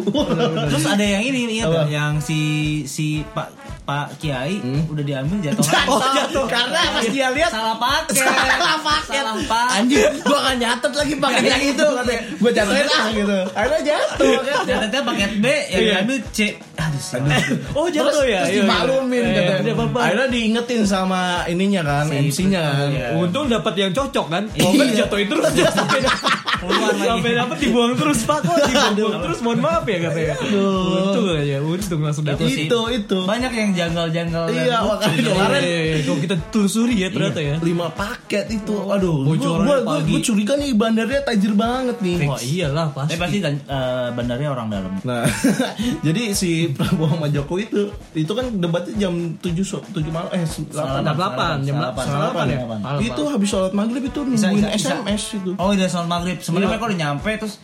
Speaker 4: Terus ada yang ini ingat
Speaker 1: Apa?
Speaker 4: nggak? yang si si Pak Pak Kiai
Speaker 1: Hmm?
Speaker 4: udah diambil jatuh.
Speaker 1: Jatuh. Karena pas dia lihat
Speaker 4: salah paket.
Speaker 1: Salah paket.
Speaker 4: Salah paket.
Speaker 1: anjing gua akan nyatet lagi pakai yang itu katanya gua jatuhin ah gitu akhirnya jatuh kan
Speaker 4: Jatuhnya paket B yang
Speaker 2: Iya.
Speaker 4: diambil C. Aduh, sih.
Speaker 2: Oh jatuh ya.
Speaker 1: terus
Speaker 2: Iya, iya.
Speaker 1: dimaklumin
Speaker 2: Iya,
Speaker 1: katanya.
Speaker 2: tidak apa-apa.
Speaker 1: akhirnya diingetin sama ininya kan MC-nya kan
Speaker 2: Untung dapat yang cocok kan. Kalau nggak jatuhin terus sampai dapat.
Speaker 4: Keluar lagi.
Speaker 2: Sampai dapat dibuang terus Pak kok dibuang terus mohon maaf ya katanya. Untung aja, untung langsung dapat.
Speaker 4: sih.
Speaker 1: itu itu
Speaker 4: Banyak yang janggal-janggal. dan
Speaker 1: iya
Speaker 4: lucu.
Speaker 1: makanya kemarin
Speaker 2: Kemarin kalau iya. kita telusuri ya ternyata ya.
Speaker 1: Iya. lima paket itu aduh gua
Speaker 2: Bocorannya
Speaker 1: gua- gua
Speaker 2: pagi.
Speaker 1: gua curiga nih bandarnya tajir banget nih
Speaker 2: Iya.
Speaker 1: iya.
Speaker 2: Wah iyalah
Speaker 4: Tapi
Speaker 2: pasti.
Speaker 4: pasti dan- eh, bandarnya orang dalam.
Speaker 1: Nah, jadi si Prabowo sama Jokowi itu itu kan debatnya jam 7 so- 7 malam eh 8
Speaker 2: Jam 8, jam 8, jam 8 ya.
Speaker 4: Salapan.
Speaker 2: Malam,
Speaker 1: itu
Speaker 2: malam.
Speaker 1: habis sholat maghrib itu nungguin SMS itu
Speaker 2: iya,
Speaker 4: Oh, udah sholat maghrib.
Speaker 1: Iya.
Speaker 4: Sebenarnya mereka udah nyampe terus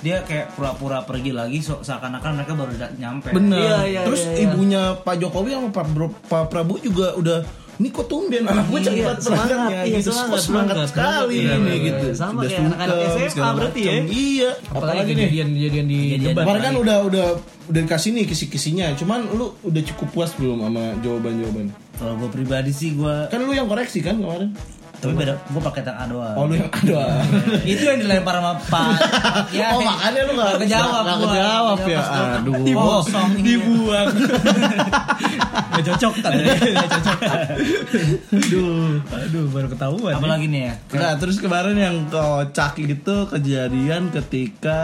Speaker 4: dia kayak pura-pura pergi lagi so- seakan-akan mereka baru da- nyampe.
Speaker 1: bener
Speaker 2: Iya, iya,
Speaker 1: terus
Speaker 2: iya, iya.
Speaker 1: ibunya Pak Jokowi sama Pak, Bro- Pak Prabowo juga udah ini kok tumben anak gue cepat berangkatnya
Speaker 2: iya,
Speaker 1: gitu semangat,
Speaker 2: semangat,
Speaker 1: semangat
Speaker 2: semangat,
Speaker 1: sekali ini
Speaker 2: semangat, iya, iya,
Speaker 1: gitu
Speaker 2: iya. Sama
Speaker 1: Udah
Speaker 2: kayak anak-anak
Speaker 1: sungkem,
Speaker 2: SMA
Speaker 1: segala
Speaker 2: berarti
Speaker 1: macem.
Speaker 2: ya.
Speaker 1: iya
Speaker 2: Apalagi kejadian-kejadian di
Speaker 4: Kejadian.
Speaker 2: debat.
Speaker 1: kemarin kan udah udah udah dikasih nih kisi-kisinya cuman lu udah cukup puas belum sama jawaban-jawaban
Speaker 4: Kalau gue pribadi sih gue
Speaker 1: kan lu yang koreksi kan kemarin
Speaker 4: tapi beda gue pakai yang A doang.
Speaker 1: oh lu yang aduh
Speaker 4: itu yang dilempar sama Pak. Ya,
Speaker 1: Oh, makanya lu nggak-
Speaker 4: kejawab.
Speaker 1: nggak
Speaker 4: gua.
Speaker 1: kejawab ya.
Speaker 4: pas gua-
Speaker 1: Aduh.
Speaker 4: Kosong ini.
Speaker 2: dibuang. Gak cocok kan? Gak cocok. Aduh, aduh baru ketahuan. ya.
Speaker 4: Apalagi nih ya.
Speaker 1: Nah terus kemarin yang kocak itu kejadian ketika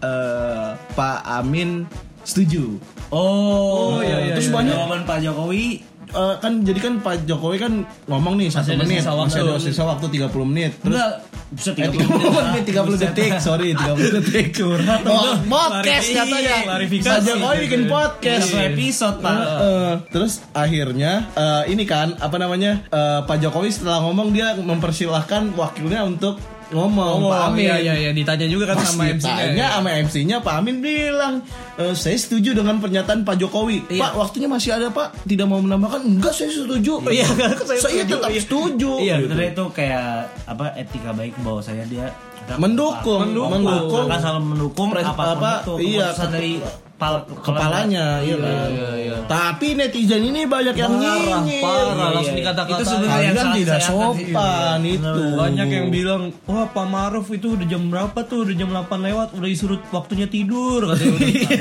Speaker 1: eh, Pak Amin setuju.
Speaker 4: Oh,
Speaker 1: iya, iya,
Speaker 4: terus
Speaker 1: iya,
Speaker 4: banyak
Speaker 1: iya.
Speaker 4: jawaban Pak Jokowi
Speaker 1: Eh, kan jadi kan Pak Jokowi kan ngomong nih satu
Speaker 4: Masih ada
Speaker 1: menit
Speaker 4: sisa waktu.
Speaker 1: masih ada sisa waktu 30 menit terus
Speaker 4: enggak bisa
Speaker 1: eh,
Speaker 4: 30
Speaker 1: menit 30 detik sorry 30 detik curhat oh, podcast
Speaker 2: Klarifikasi,
Speaker 1: katanya
Speaker 2: klarifikasi.
Speaker 1: Pak Jokowi bikin podcast
Speaker 4: Satu episode Pak.
Speaker 1: Eh, terus akhirnya eh, ini kan apa namanya eh, Pak Jokowi setelah ngomong dia mempersilahkan wakilnya untuk ngomong Pak Amin
Speaker 2: Iya, iya, iya. Ditanya juga kan
Speaker 1: Pas
Speaker 2: sama MC.
Speaker 1: ditanya sama MC-nya Pak Amin bilang "Eh, saya setuju dengan pernyataan Pak Jokowi.
Speaker 2: Iya.
Speaker 1: Pak waktunya masih ada Pak, tidak mau menambahkan. Enggak saya setuju. Gitu.
Speaker 2: Iya, saya
Speaker 1: saya
Speaker 2: setuju,
Speaker 1: tetap
Speaker 2: iya.
Speaker 1: setuju.
Speaker 2: Iya,
Speaker 1: Gitu.
Speaker 4: Sebenarnya itu kayak apa etika baik bahwa saya dia
Speaker 1: Mendukung,
Speaker 4: mendukung,
Speaker 1: mendukung.
Speaker 4: akan selalu mendukung
Speaker 1: Pres-
Speaker 4: apapun
Speaker 1: apa,
Speaker 4: itu
Speaker 1: iya,
Speaker 4: keputusan dari pal-
Speaker 1: Kepalanya, iya, kan? Tapi netizen ini banyak yang
Speaker 2: Parah,
Speaker 1: nyinyir.
Speaker 2: parah. Langsung
Speaker 4: Iya, iya.
Speaker 2: dikata-kata.
Speaker 4: Itu sebenarnya yang
Speaker 1: Kalian
Speaker 4: salah
Speaker 1: tidak
Speaker 4: saya Iya. akan-
Speaker 1: sopan itu.
Speaker 2: Iya, Banyak yang bilang, wah Pak Maruf itu udah jam berapa tuh? Udah jam 8 lewat, udah disuruh waktunya tidur. Katanya udah
Speaker 1: Iya,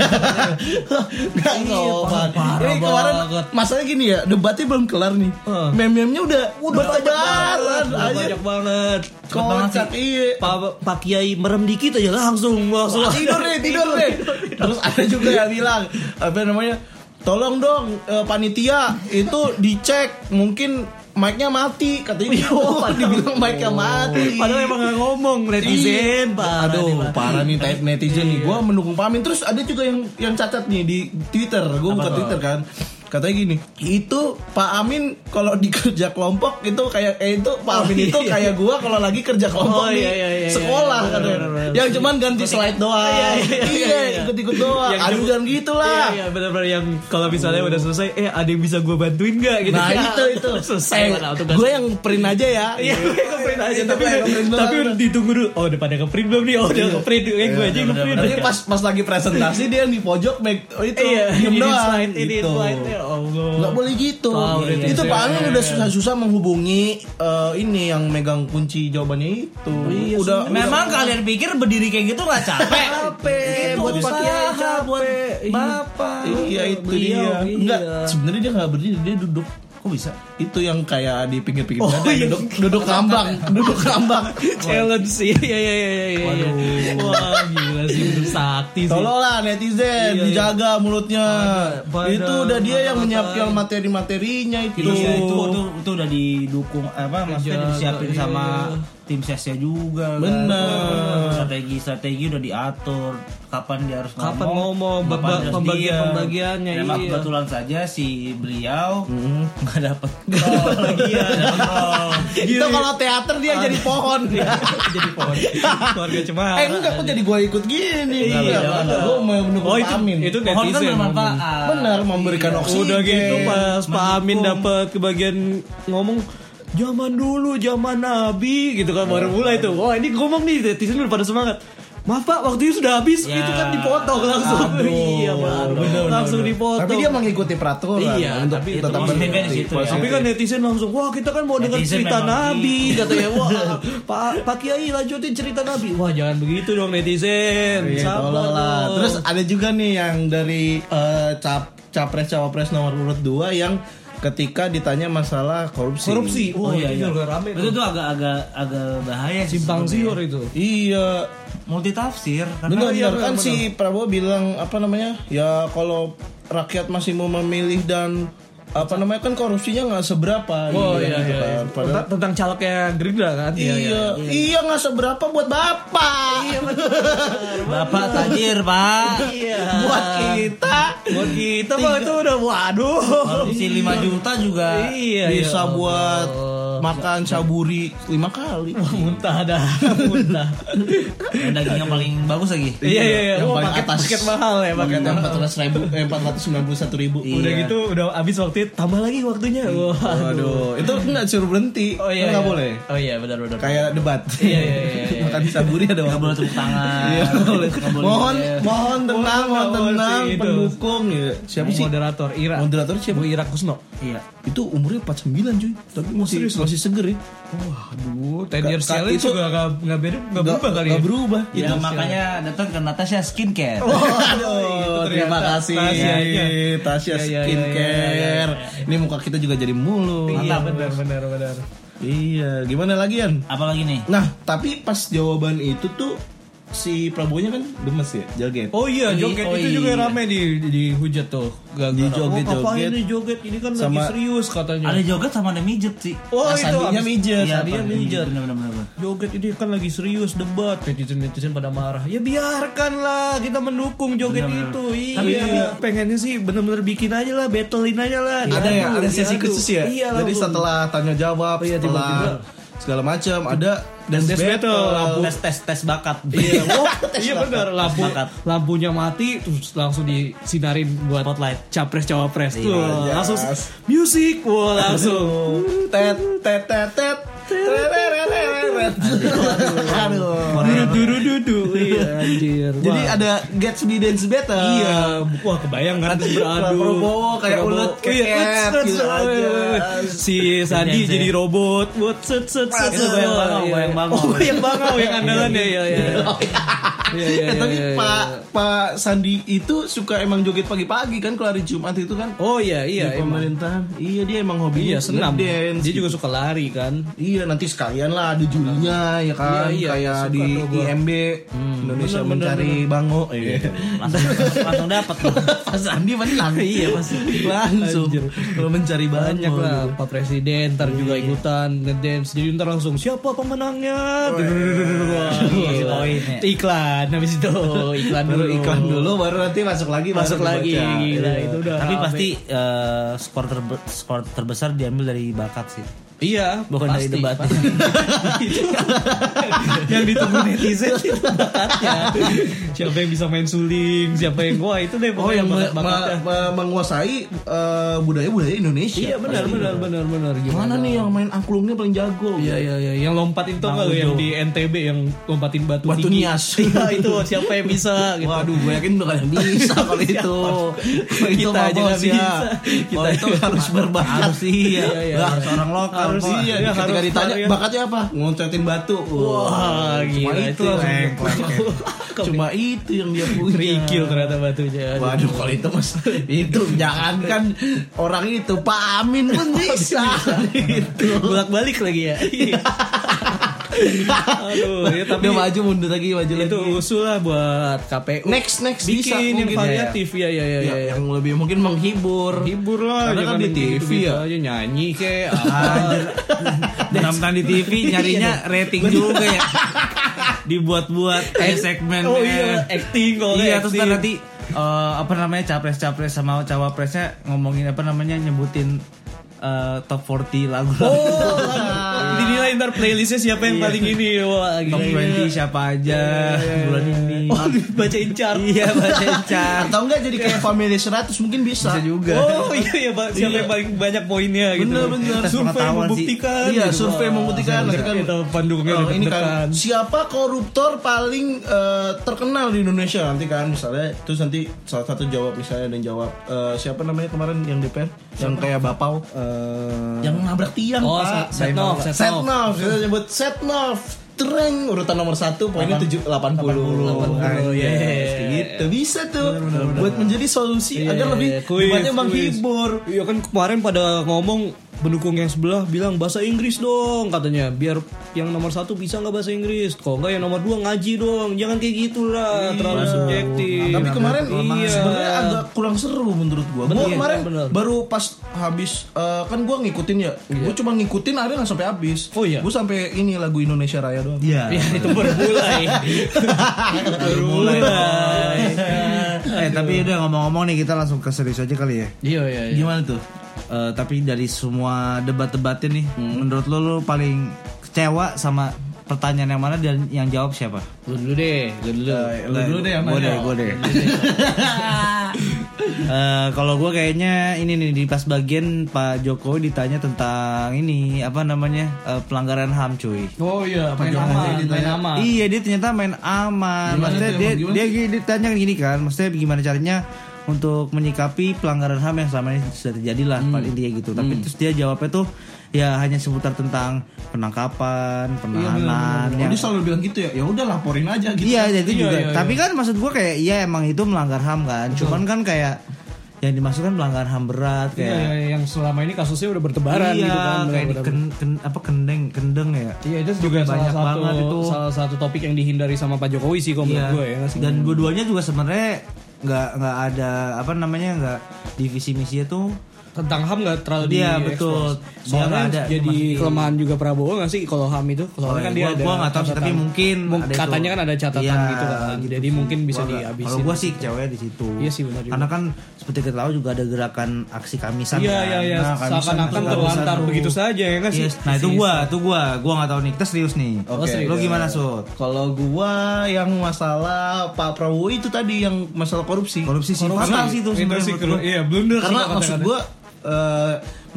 Speaker 1: Nggak
Speaker 2: Iya,
Speaker 1: sopan.
Speaker 2: parah
Speaker 1: Ini kemarin
Speaker 2: banget.
Speaker 1: masalahnya gini ya, debatnya belum kelar nih.
Speaker 2: Heeh.
Speaker 1: Meme-memnya udah udah bertebaran
Speaker 2: Udah
Speaker 1: aja.
Speaker 2: banyak banget.
Speaker 1: kan? Kocak iya.
Speaker 2: Pak Pak Kiai merem dikit aja langsung langsung
Speaker 1: Wah, tidur deh, tidur deh. Terus ada juga yang bilang apa namanya? Tolong dong eh, panitia itu dicek mungkin mic-nya mati katanya gitu. dibilang mic-nya mati.
Speaker 2: Iya, Padahal emang gak ngomong netizen, Pak.
Speaker 1: Aduh, parah Iya. nih type netizen nih. Gua mendukung Pamin. Terus ada juga yang yang cacat nih di Twitter. Gua buka Twitter kan. katanya gini itu Pak Amin kalau di kerja kelompok itu kayak eh, itu Pak Amin itu kayak gua kalau lagi kerja kelompok
Speaker 2: iya, Oh,
Speaker 1: di
Speaker 2: iya, iya, iya,
Speaker 1: sekolah
Speaker 2: iya,
Speaker 1: katanya
Speaker 2: bener, bener. Oh,
Speaker 1: yang cuman ganti slide doang iya, ikut-ikut doang
Speaker 2: Yang
Speaker 1: aduh
Speaker 2: cuma-
Speaker 1: jangan gitu gitulah
Speaker 2: Iya, iya benar-benar yang kalau misalnya udah selesai, eh ada yang bisa gue bantuin gak? Gitu.
Speaker 1: nah itu itu
Speaker 2: selesai.
Speaker 1: Eh,
Speaker 2: lah, tugas.
Speaker 1: gue yang print aja ya
Speaker 2: Iya, gue ngeprint aja tapi
Speaker 1: Iya, ngeprint Iya. doang.
Speaker 2: tapi udah ditunggu dulu. Oh, udah pada ngeprint belum nih? Oh, udah ngeprint. Eh, gue aja yang ngeprint.
Speaker 1: Nanti pas pas lagi presentasi dia yang di pojok make oh, itu
Speaker 2: Iya,
Speaker 1: diem
Speaker 2: ini
Speaker 1: doang.
Speaker 2: slide, ini
Speaker 1: Gitu.
Speaker 2: slide. Ya Allah.
Speaker 1: nggak boleh gitu.
Speaker 2: Tahu Iya, deh,
Speaker 1: itu
Speaker 2: Tinder.
Speaker 1: Pak Amin udah susah-susah menghubungi eh, ini yang megang kunci jawabannya itu.
Speaker 2: Iya,
Speaker 1: udah
Speaker 4: Memang kalian pikir berdiri kayak gitu nggak capek?
Speaker 1: capek buat Pak Kiai
Speaker 4: usaha buat bapak.
Speaker 1: Iya itu
Speaker 2: beliau,
Speaker 1: dia.
Speaker 2: iya.
Speaker 1: Enggak, sebenarnya dia nggak berdiri, dia duduk. Kok bisa? Itu yang kayak di pinggir-pinggir oh,
Speaker 2: iya.
Speaker 1: duduk duduk rambang, duduk rambang.
Speaker 2: Challenge sih. Iya, iya, iya, iya, iya. Wah, gila sih bener sakti sih.
Speaker 1: Tolonglah netizen
Speaker 2: Iya,
Speaker 1: dijaga mulutnya.
Speaker 2: pada-
Speaker 1: itu udah dia yang
Speaker 2: pada-
Speaker 1: menyiapkan materi-materinya itu.
Speaker 4: Iya itu, itu itu udah didukung apa maksudnya disiapin
Speaker 2: iya.
Speaker 4: sama tim sesnya juga kan.
Speaker 1: Bener.
Speaker 4: strategi strategi udah diatur kapan dia harus
Speaker 2: Kapan ngomong,
Speaker 4: ngomong,
Speaker 2: beba-
Speaker 4: harus
Speaker 2: pembagian-
Speaker 4: diam.
Speaker 2: pembagiannya,
Speaker 4: memang
Speaker 2: iya. Hmm.
Speaker 4: kebetulan saja si beliau nggak dapet gol lagi ya dapet gol.
Speaker 1: Itu kalau teater dia jadi pohon.
Speaker 2: jadi pohon. Keluarga cemara.
Speaker 1: eh enggak kok jadi gua ikut gini.
Speaker 2: Iya,
Speaker 1: Enggak,
Speaker 2: iya.
Speaker 1: enggak. Gua mau mendukung
Speaker 2: Oh,
Speaker 1: Pak Amin.
Speaker 2: itu, itu
Speaker 4: pohon kan
Speaker 2: netizen. ngomong.
Speaker 4: bermanfaat Iya.
Speaker 1: benar memberikan oksigen.
Speaker 2: Udah gitu pas Pak Amin
Speaker 4: mendukung.
Speaker 2: dapat kebagian ngomong zaman dulu zaman Nabi gitu kan baru mulai tuh. Wah ini ngomong nih netizen udah pada semangat. Maaf pak, waktunya sudah habis.
Speaker 4: Ya.
Speaker 2: Itu kan dipotong langsung.
Speaker 4: Aduh,
Speaker 2: iya, Pak. langsung dipotong.
Speaker 1: Tapi dia mengikuti peraturan
Speaker 2: Iya,
Speaker 1: untuk
Speaker 2: tapi itu
Speaker 1: tetap
Speaker 4: positifnya
Speaker 1: berhenti.
Speaker 4: di situ ya.
Speaker 2: Tapi kan netizen langsung, wah kita kan mau dengar
Speaker 4: Netizen
Speaker 2: cerita
Speaker 4: memang
Speaker 2: Nabi
Speaker 4: gitu.
Speaker 2: katanya. Wah, Pak Pak Kiai lanjutin cerita Nabi. Wah, jangan begitu dong netizen.
Speaker 1: Iya,
Speaker 2: Sabar
Speaker 1: tolol lah.
Speaker 2: dong.
Speaker 1: Terus ada juga nih yang dari eh, cap capres cawapres nomor urut 2 yang ketika ditanya masalah korupsi.
Speaker 2: korupsi. Wah,
Speaker 4: oh iya
Speaker 2: itu
Speaker 4: iya
Speaker 2: juga rame.
Speaker 4: itu tuh agak-agak agak bahaya sih
Speaker 2: simpang siur
Speaker 4: sebenarnya.
Speaker 2: itu.
Speaker 1: Iya,
Speaker 4: multi tafsir karena
Speaker 1: benar
Speaker 2: iya,
Speaker 1: benar kan
Speaker 2: benar,
Speaker 1: si Prabowo bilang apa namanya? Ya kalau rakyat masih mau memilih dan apa namanya kan korupsinya nggak seberapa
Speaker 2: Oh
Speaker 1: gitu, gitu
Speaker 2: iya, iya, iya.
Speaker 1: kan. Padahal-
Speaker 2: Tentang, tentang calegnya Gerindra kan?
Speaker 1: Iya, iya, nggak seberapa buat bapak.
Speaker 4: bapak tajir pak
Speaker 2: Iya.
Speaker 1: buat kita
Speaker 2: Buat kita mah itu udah waduh.
Speaker 4: korupsi 5 juta juga
Speaker 2: Iya,
Speaker 1: bisa
Speaker 2: iya.
Speaker 1: buat makan saburi lima kali.
Speaker 2: muntah dah, muntah.
Speaker 4: yang dagingnya paling bagus lagi
Speaker 2: Iya iya iya.
Speaker 1: Yang
Speaker 2: Wah,
Speaker 1: paling
Speaker 2: paket
Speaker 1: atas.
Speaker 2: paket mahal ya paket.
Speaker 1: Yang empat ratus ribu, eh, empat ratus sembilan puluh satu ribu.
Speaker 2: Udah gitu udah habis waktunya tambah lagi waktunya. Wah.
Speaker 1: Waduh, itu nggak suruh berhenti. nggak boleh.
Speaker 2: Oh iya benar benar.
Speaker 1: Kayak debat.
Speaker 2: Iya, iya, iya, iya.
Speaker 1: Makan saburi ada
Speaker 4: nggak
Speaker 1: waktu.
Speaker 4: boleh tepuk tangan
Speaker 1: Iya, nggak boleh.
Speaker 4: Nggak boleh. Iya.
Speaker 1: Mohon,
Speaker 2: Iya.
Speaker 1: mohon tenang,
Speaker 2: Mohon,
Speaker 1: mohon tenang,
Speaker 2: mohon,
Speaker 1: pendukung. ya. Siapa sih?
Speaker 2: moderator Ira?
Speaker 1: Moderator
Speaker 2: Bu
Speaker 1: siapa?
Speaker 2: Ira Kusno.
Speaker 4: iya
Speaker 1: Itu umurnya 49 cuy, tapi masih masih seger ya.
Speaker 2: Waduh, ten years
Speaker 1: Ka-
Speaker 2: challenge
Speaker 1: itu-
Speaker 2: juga gak nggak beda nggak berubah kali ya.
Speaker 1: Nggak berubah.
Speaker 4: Ya, makanya datang ke Natasha Skincare.
Speaker 1: Oh, terima
Speaker 2: ternyata.
Speaker 1: kasih
Speaker 2: Tasya, iya.
Speaker 1: Tasya
Speaker 2: Iya, iya, iya, iya,
Speaker 1: Skincare. Ini muka kita juga jadi mulu.
Speaker 2: Iya benar benar benar.
Speaker 1: Iya, gimana lagi Yan?
Speaker 4: Apalagi nih?
Speaker 1: Nah, tapi pas jawaban itu tuh si Prabowo-nya kan demes ya, joget.
Speaker 2: Oh iya,
Speaker 4: Jadi,
Speaker 2: joget
Speaker 4: oh
Speaker 2: itu juga
Speaker 4: iya.
Speaker 2: rame di di hujat tuh. Gak
Speaker 1: Di joget-joget.
Speaker 2: ini joget? Ini kan lagi
Speaker 1: Sama-
Speaker 2: serius katanya.
Speaker 4: Ada joget sama ada mijet sih.
Speaker 2: oh
Speaker 1: Nah,
Speaker 2: itu
Speaker 1: Sandinya
Speaker 2: abis-
Speaker 1: mijet.
Speaker 2: Iya,
Speaker 1: Iya,
Speaker 2: Sandinya
Speaker 4: Pak.
Speaker 2: mijet.
Speaker 4: Bener, bener, bener, bener.
Speaker 2: Joget ini kan lagi serius debat netizen netizen pada marah. Ya biarkanlah kita mendukung joget itu. Iya.
Speaker 4: Tapi-
Speaker 2: pengennya sih bener-bener bikin aja lah, battlein aja lah.
Speaker 1: ada ya, ada
Speaker 2: Diadu,
Speaker 1: sesi
Speaker 2: diadu.
Speaker 1: khusus ya.
Speaker 2: Iya
Speaker 1: Jadi
Speaker 2: langsung.
Speaker 1: setelah tanya jawab,
Speaker 2: Iya, tiba-tiba.
Speaker 1: setelah segala macam ada dan
Speaker 2: Dance battle, lampu.
Speaker 4: Tes tes tes bakat.
Speaker 2: Iya, wah, iya benar lampu
Speaker 4: Sepakat.
Speaker 2: lampunya mati terus langsung disinarin buat
Speaker 4: Spotlight.
Speaker 2: capres cawapres tuh
Speaker 1: Iya,
Speaker 2: langsung
Speaker 1: yes.
Speaker 2: music wah langsung
Speaker 1: tet tet tet tet terererereret. Aduh.
Speaker 2: dudu dudu dudu iya anjir
Speaker 1: Jadi
Speaker 2: Wah.
Speaker 1: ada Gatsby Dance Battle.
Speaker 2: iya wah kebayang kan terus beradu
Speaker 1: Prabowo kayak ulet,
Speaker 2: Prabowo. Iya,
Speaker 1: keket,
Speaker 2: wut, set,
Speaker 1: gitu
Speaker 2: set,
Speaker 1: aja.
Speaker 2: wut. si
Speaker 1: Iya,
Speaker 2: Sandi
Speaker 4: Dance,
Speaker 2: jadi
Speaker 4: ya.
Speaker 2: robot buat set set set
Speaker 4: Itu bayang bangau, bayang bangau.
Speaker 2: oh bayang bangau yang andalan ya ya ya Iya, iya,
Speaker 1: iya, Eh, tapi
Speaker 2: iya, iya,
Speaker 1: Pak
Speaker 2: iya.
Speaker 1: Pak Sandi itu suka emang joget pagi-pagi kan kalau hari Jumat itu kan
Speaker 2: Oh iya
Speaker 1: di
Speaker 2: iya emang.
Speaker 1: pemerintahan. Iya dia emang hobinya
Speaker 2: Iya senam.
Speaker 1: ngedance
Speaker 2: Dia
Speaker 1: gitu.
Speaker 2: juga suka lari kan.
Speaker 1: Iya nanti sekalian lah ada julinya ya kan
Speaker 2: Iya, iya,
Speaker 1: kayak
Speaker 2: suka
Speaker 1: di
Speaker 2: tuh gua. Hmm.
Speaker 1: IMB Indonesia
Speaker 2: bener,
Speaker 1: mencari bango. Iya.
Speaker 4: Langsung langsung dapat.
Speaker 1: Pak Sandi menang.
Speaker 2: Iya, pasti.
Speaker 1: langsung.
Speaker 2: Anjir.
Speaker 1: Kalau mencari
Speaker 2: Banyak
Speaker 1: bango.
Speaker 2: lah Pak Presiden ntar juga ikutan ngedance. Jadi ntar langsung siapa pemenangnya? Wah,
Speaker 4: iya,
Speaker 2: gila.
Speaker 4: poinnya.
Speaker 2: Iklan. iklan habis itu iklan
Speaker 1: Baru
Speaker 2: dulu
Speaker 1: iklan dulu baru nanti masuk lagi baru
Speaker 2: masuk lagi
Speaker 1: dibaca.
Speaker 2: gila
Speaker 1: Iya.
Speaker 2: itu udah
Speaker 4: Tapi
Speaker 2: rame.
Speaker 4: pasti eh, skor terbe- skor terbesar diambil dari bakat sih.
Speaker 2: iya
Speaker 4: Bukan dari
Speaker 2: pasti,
Speaker 4: debat.
Speaker 2: pasti.
Speaker 4: yang ditunggu netizen itu bakatnya.
Speaker 2: siapa yang bisa main suling siapa yang wah itu deh
Speaker 1: Oh
Speaker 2: pokoknya
Speaker 1: yang me-
Speaker 2: bakat-bakatnya.
Speaker 1: me- me- menguasai eh, budaya-budaya Indonesia.
Speaker 2: ya. iya benar benar benar benar
Speaker 1: Mana nih yang main angklungnya paling jago?
Speaker 2: Iya iya iya yang lompatin tuh nggak lo yang di NTB yang lompatin batu,
Speaker 1: Batu
Speaker 2: tinggi.
Speaker 1: nias.
Speaker 2: Iya itu siapa yang bisa gitu.
Speaker 1: Waduh, gue yakin udah gak bisa kalau itu. Kalau itu
Speaker 2: Kita
Speaker 1: mah
Speaker 2: aja nggak
Speaker 1: bos, ya.
Speaker 2: bisa. Kita
Speaker 1: Kalau itu harus berbakat.
Speaker 4: Harus iya.
Speaker 2: Iya, iya,
Speaker 4: Lah,
Speaker 2: iya.
Speaker 4: seorang lokal.
Speaker 2: Harus
Speaker 4: Pak.
Speaker 2: iya, iya,
Speaker 1: Ketika
Speaker 2: harus
Speaker 1: ditanya
Speaker 2: varian.
Speaker 1: bakatnya apa? Ngontetin batu.
Speaker 2: Wah,
Speaker 1: cuma
Speaker 2: gila,
Speaker 1: itu,
Speaker 2: itu
Speaker 1: langsung
Speaker 4: langsung
Speaker 1: dia punya. Cuma itu yang dia punya.
Speaker 2: kerikil ternyata batunya Aduh.
Speaker 1: Waduh kalau itu mas itu jangankan Kan orang itu Pak Amin pun bisa Gitu. itu.
Speaker 2: bolak balik Oh, lagi ya aduh ya, tapi
Speaker 1: Dia maju mundur lagi maju
Speaker 2: itu
Speaker 1: lagi.
Speaker 2: usul lah buat KPU
Speaker 1: Next next
Speaker 2: bikin
Speaker 1: bisa
Speaker 2: yang
Speaker 1: mungkin
Speaker 2: variatif ya ya
Speaker 1: Ya,
Speaker 2: ya, ya,
Speaker 1: yang lebih mungkin menghibur.
Speaker 2: hibur lah
Speaker 1: Karena kan
Speaker 2: jangan
Speaker 1: di
Speaker 2: yang
Speaker 1: TV
Speaker 2: gitu-gitu
Speaker 1: ya.
Speaker 2: aja nyanyi kek Ah,
Speaker 4: Anjir. Menonton di TV nyarinya rating juga ya. Dibuat-buat eh, kayak segmen.
Speaker 2: oh iya acting kok
Speaker 4: Iya, terus ntar
Speaker 2: acting.
Speaker 4: nanti eh, apa namanya capres-capres sama cawapresnya ngomongin apa namanya nyebutin eh, top 40 lagu.
Speaker 2: Oh, dinilai ntar playlistnya siapa yang paling ini wah
Speaker 4: top
Speaker 2: gila, gila.
Speaker 4: 20 siapa aja bulan ini.
Speaker 2: oh bacain chart
Speaker 4: Iya, baca chart.
Speaker 1: Atau enggak jadi
Speaker 2: Iya.
Speaker 1: kayak family 100 mungkin bisa.
Speaker 4: Bisa juga.
Speaker 2: Oh iya iya Pak. siapa yang paling banyak poinnya gitu.
Speaker 1: Bener, bener.
Speaker 4: Tes
Speaker 2: Survei
Speaker 4: pengetahuan sih.
Speaker 2: membuktikan.
Speaker 1: Iya,
Speaker 2: gitu.
Speaker 1: survei
Speaker 2: Wah,
Speaker 1: membuktikan.
Speaker 2: saya
Speaker 1: Kan-
Speaker 2: Kita pandungnya
Speaker 1: Oh, ini
Speaker 2: deg-degan.
Speaker 1: kan siapa koruptor paling eh, terkenal di Indonesia nanti kan misalnya terus nanti salah satu jawab misalnya dan jawab eh, siapa namanya kemarin yang DPR yang kayak Bapau eh, yang nabrak tiang
Speaker 2: Oh,
Speaker 1: Pak
Speaker 2: Set- Setnov,
Speaker 1: Setnov.
Speaker 2: Setnov.
Speaker 1: Setnov kita nyebut Setnov Tereng urutan nomor satu poinnya tujuh delapan puluh, Ah,
Speaker 2: iya.
Speaker 1: gitu bisa tuh buat menjadi solusi Iya, agar lebih
Speaker 2: Iya, kuis,
Speaker 1: debatnya
Speaker 2: kuis.
Speaker 1: menghibur.
Speaker 2: Iya kan kemarin pada ngomong pendukung yang sebelah bilang bahasa Inggris dong katanya biar yang nomor satu bisa nggak bahasa Inggris kalau nggak yang nomor dua ngaji dong jangan kayak gitu lah terlalu
Speaker 1: Nah,
Speaker 2: subjektif
Speaker 1: Tapi kemarin
Speaker 2: iya.
Speaker 1: sebenarnya agak kurang seru menurut gua. Gua
Speaker 2: Bener,
Speaker 1: kemarin
Speaker 2: bener. Iya.
Speaker 1: baru pas habis eh, kan gua ngikutin ya. Gua cuma ngikutin akhirnya nggak sampai habis.
Speaker 2: Oh, iya.
Speaker 1: Gua sampai ini lagu Indonesia Raya doang.
Speaker 4: Iya.
Speaker 2: ya itu baru mulai baru mulai
Speaker 4: Eh tapi udah ngomong-ngomong nih kita langsung ke serius aja kali ya.
Speaker 2: iya iya iya.
Speaker 4: Gimana tuh? Eh, tapi dari semua debat-debatnya nih, menurut lo lo paling kecewa sama pertanyaan yang mana dan yang jawab siapa?
Speaker 2: Lu dulu deh lu dulu
Speaker 4: Iya,
Speaker 1: Lu dulu deh yang
Speaker 4: Gue
Speaker 1: nanya.
Speaker 4: deh, gue deh. Eh, Kalau gue kayaknya ini nih di pas bagian Pak Jokowi ditanya tentang ini apa namanya eh, pelanggaran ham cuy.
Speaker 2: Oh iya, main aman,
Speaker 1: gitu.
Speaker 2: main aman.
Speaker 4: Iya dia ternyata main aman. maksudnya dia, dia gini- ditanya gini kan, maksudnya gimana caranya untuk menyikapi pelanggaran HAM yang selama ini sudah terjadi lah
Speaker 1: Hmm.
Speaker 4: pada intinya gitu. Tapi terus dia jawabnya tuh ya hanya seputar tentang
Speaker 1: Iya,
Speaker 4: penangkapan, penahanan.
Speaker 1: Oh, Dia
Speaker 4: yang-
Speaker 1: selalu bilang gitu ya. Ya udah laporin aja gitu.
Speaker 4: Iya, itu juga. Tapi kan maksud gua kayak iya emang itu melanggar HAM kan. Cuman kan kayak yang
Speaker 2: kan
Speaker 4: dimaksudkan pelanggaran HAM berat
Speaker 2: Iya,
Speaker 4: kayak
Speaker 2: iya, yang selama ini kasusnya udah bertebaran
Speaker 4: iya,
Speaker 2: gitu kan.
Speaker 4: kayak
Speaker 2: benar-benar.
Speaker 4: diken- ken- apa kendeng, kendeng ya.
Speaker 2: Iya, itu juga
Speaker 4: banyak
Speaker 2: salah satu
Speaker 4: banget itu.
Speaker 2: salah satu topik yang dihindari sama Pak Jokowi sih kalau
Speaker 4: Iya.
Speaker 2: menurut gue ya. nggak sih?
Speaker 4: Dan dua-duanya juga sebenarnya nggak nggak ada apa namanya nggak divisi misinya tuh
Speaker 2: Tentang HAM nggak terlalu
Speaker 4: Iya,
Speaker 2: di-expose.
Speaker 4: betul. Dia
Speaker 2: Soalnya
Speaker 4: nggak ada,
Speaker 2: jadi
Speaker 4: dimasukin.
Speaker 2: kelemahan juga Prabowo nggak sih kalau HAM itu? Soalnya
Speaker 4: Oh,
Speaker 2: kan
Speaker 4: gua-
Speaker 2: dia ada
Speaker 4: gua nggak tahu sih, tapi
Speaker 2: catatan.
Speaker 4: mungkin
Speaker 2: Mung-
Speaker 4: ada itu.
Speaker 2: katanya kan ada catatan
Speaker 4: Iya,
Speaker 2: gitu kan.
Speaker 4: gitu
Speaker 2: Jadi mungkin bisa
Speaker 4: Gua nggak-
Speaker 2: dihabisin.
Speaker 4: Kalau gua sih cewek di situ.
Speaker 2: Iya sih, benar juga.
Speaker 4: Karena kan seperti kita tahu juga ada gerakan aksi kamisan.
Speaker 2: Iya,
Speaker 4: kan.
Speaker 2: iya, iya.
Speaker 4: Nah, kamisan
Speaker 2: Seakan-akan
Speaker 4: tuh,
Speaker 2: terlantar
Speaker 4: kamisan
Speaker 2: begitu
Speaker 4: tuh.
Speaker 2: saja ya nggak sih?
Speaker 4: Yes, nah itu gua, itu gua, gua nggak tahu nih. Kita serius nih.
Speaker 2: Oh, serius.
Speaker 4: Lo gimana sud?
Speaker 1: Kalau gua yang masalah Pak Prabowo itu tadi yang masalah korupsi.
Speaker 4: Korupsi sih fatal sih itu
Speaker 2: Itu
Speaker 4: sebenarnya
Speaker 2: sih
Speaker 4: menurut gua.
Speaker 2: kru- iya, blunder sih
Speaker 1: karena
Speaker 2: kalau
Speaker 1: maksud
Speaker 2: kata-kata.
Speaker 1: gue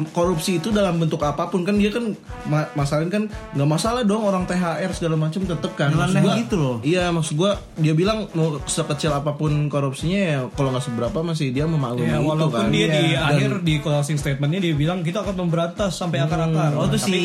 Speaker 1: korupsi itu dalam bentuk apapun kan dia kan ma- masalahin kan nggak masalah dong orang THR segala macam tetep kan Maksud
Speaker 4: Nyeleneh
Speaker 1: gua-
Speaker 4: gitu loh.
Speaker 1: iya maksud gue dia bilang mau sekecil apapun korupsinya ya kalau nggak seberapa masih dia memaklumi
Speaker 2: Ya,
Speaker 1: itu
Speaker 2: walaupun
Speaker 1: kan
Speaker 2: dia di
Speaker 1: Dan-
Speaker 2: akhir di closing statementnya dia bilang kita akan memberantas sampai akar-akar.
Speaker 4: Oh itu si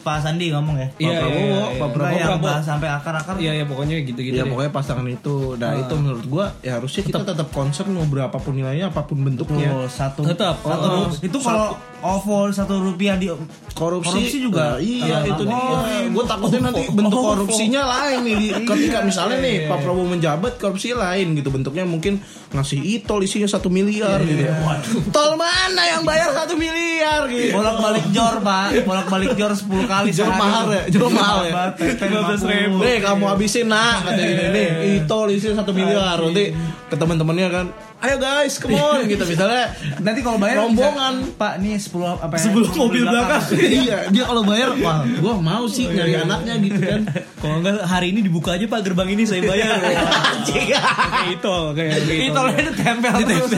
Speaker 4: Pak Sandi ngomong ya.
Speaker 2: Iya,
Speaker 1: Pak Prabowo,
Speaker 2: iya, iya.
Speaker 1: Hmm. Pak
Speaker 4: Nah,
Speaker 1: Prabowo,
Speaker 4: yang bahas sampai akar-akar.
Speaker 2: Iya ya pokoknya gitu-gitu.
Speaker 1: Ya
Speaker 2: deh. Ah.
Speaker 1: pokoknya pasangan itu Nah itu menurut gua Ya harusnya kita tetap concern Mau berapapun nilainya Apapun bentuknya
Speaker 4: Betul, satu
Speaker 2: Tetap,
Speaker 4: satu
Speaker 2: oh,
Speaker 4: ru- itu kalau oval satu rupiah di
Speaker 1: korupsi,
Speaker 4: Korupsi
Speaker 1: Nah,
Speaker 4: juga.
Speaker 1: iya
Speaker 4: Nah,
Speaker 1: itu
Speaker 4: nah,
Speaker 1: nih
Speaker 4: oh,
Speaker 1: gue takutnya nanti bentuk Iya. korupsinya lain nih di- ketika misalnya nih Pak Prabowo menjabat korupsi lain gitu bentuknya Iya, mungkin ngasih e-tol isinya satu miliar gitu ya. Waduh. tol mana yang bayar satu miliar gitu.
Speaker 4: bolak balik jor pak bolak balik jor 10 kali
Speaker 1: Jor
Speaker 4: sehari.
Speaker 1: mahal ya, jor mahal ya.
Speaker 4: Babat, teteh,
Speaker 2: 15.000.
Speaker 4: mampu.
Speaker 1: Nih kamu habisin nak kata gini nih itu isinya satu miliar nanti ke teman-temannya kan ayo guys come on gitu misalnya
Speaker 4: nanti kalau bayar
Speaker 1: Rombongan.
Speaker 4: bisa, pak nih 10 apa ya
Speaker 1: sebelum
Speaker 4: 10
Speaker 1: mobil belakang iya dia kalau bayar wah gua mau sih nyari anaknya gitu kan
Speaker 2: Kalau enggak hari ini dibuka aja Pak gerbang ini saya bayar. Anjing. Kayak itu kayak gitu.
Speaker 4: itu itu tempel terus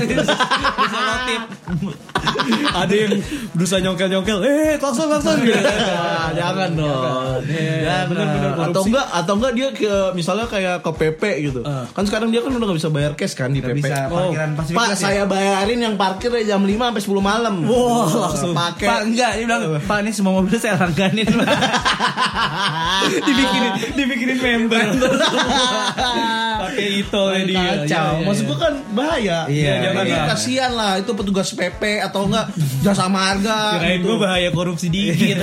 Speaker 2: Bisa notif. Ada yang berusaha nyongkel-nyongkel, eh klakson klakson
Speaker 4: Iya.
Speaker 2: gitu.
Speaker 1: Nah, jangan dong
Speaker 2: Ya benar-benar
Speaker 1: atau enggak atau enggak dia ke misalnya kayak ke PP gitu kan sekarang dia kan udah nggak bisa bayar cash kan di
Speaker 4: Ah.
Speaker 1: PP
Speaker 4: Nggak bisa, parkiran pasti
Speaker 1: pak
Speaker 4: kelas ya?
Speaker 1: saya bayarin yang parkir dari jam 5 sampai 10 malam wah langsung pakai
Speaker 4: Oh, pak enggak dia bilang pak ini semua mobil saya langganin pak
Speaker 2: dibikinin dibikinin member pakai itu
Speaker 1: Kacau,
Speaker 2: dia.
Speaker 1: maksud gua kan bahaya.
Speaker 4: Iya,
Speaker 1: jangan
Speaker 2: iya.
Speaker 1: kasihan lah itu petugas PP atau enggak jasa marga
Speaker 2: Kirain
Speaker 1: gitu.
Speaker 2: gue bahaya korupsi
Speaker 4: Iya,
Speaker 2: dikit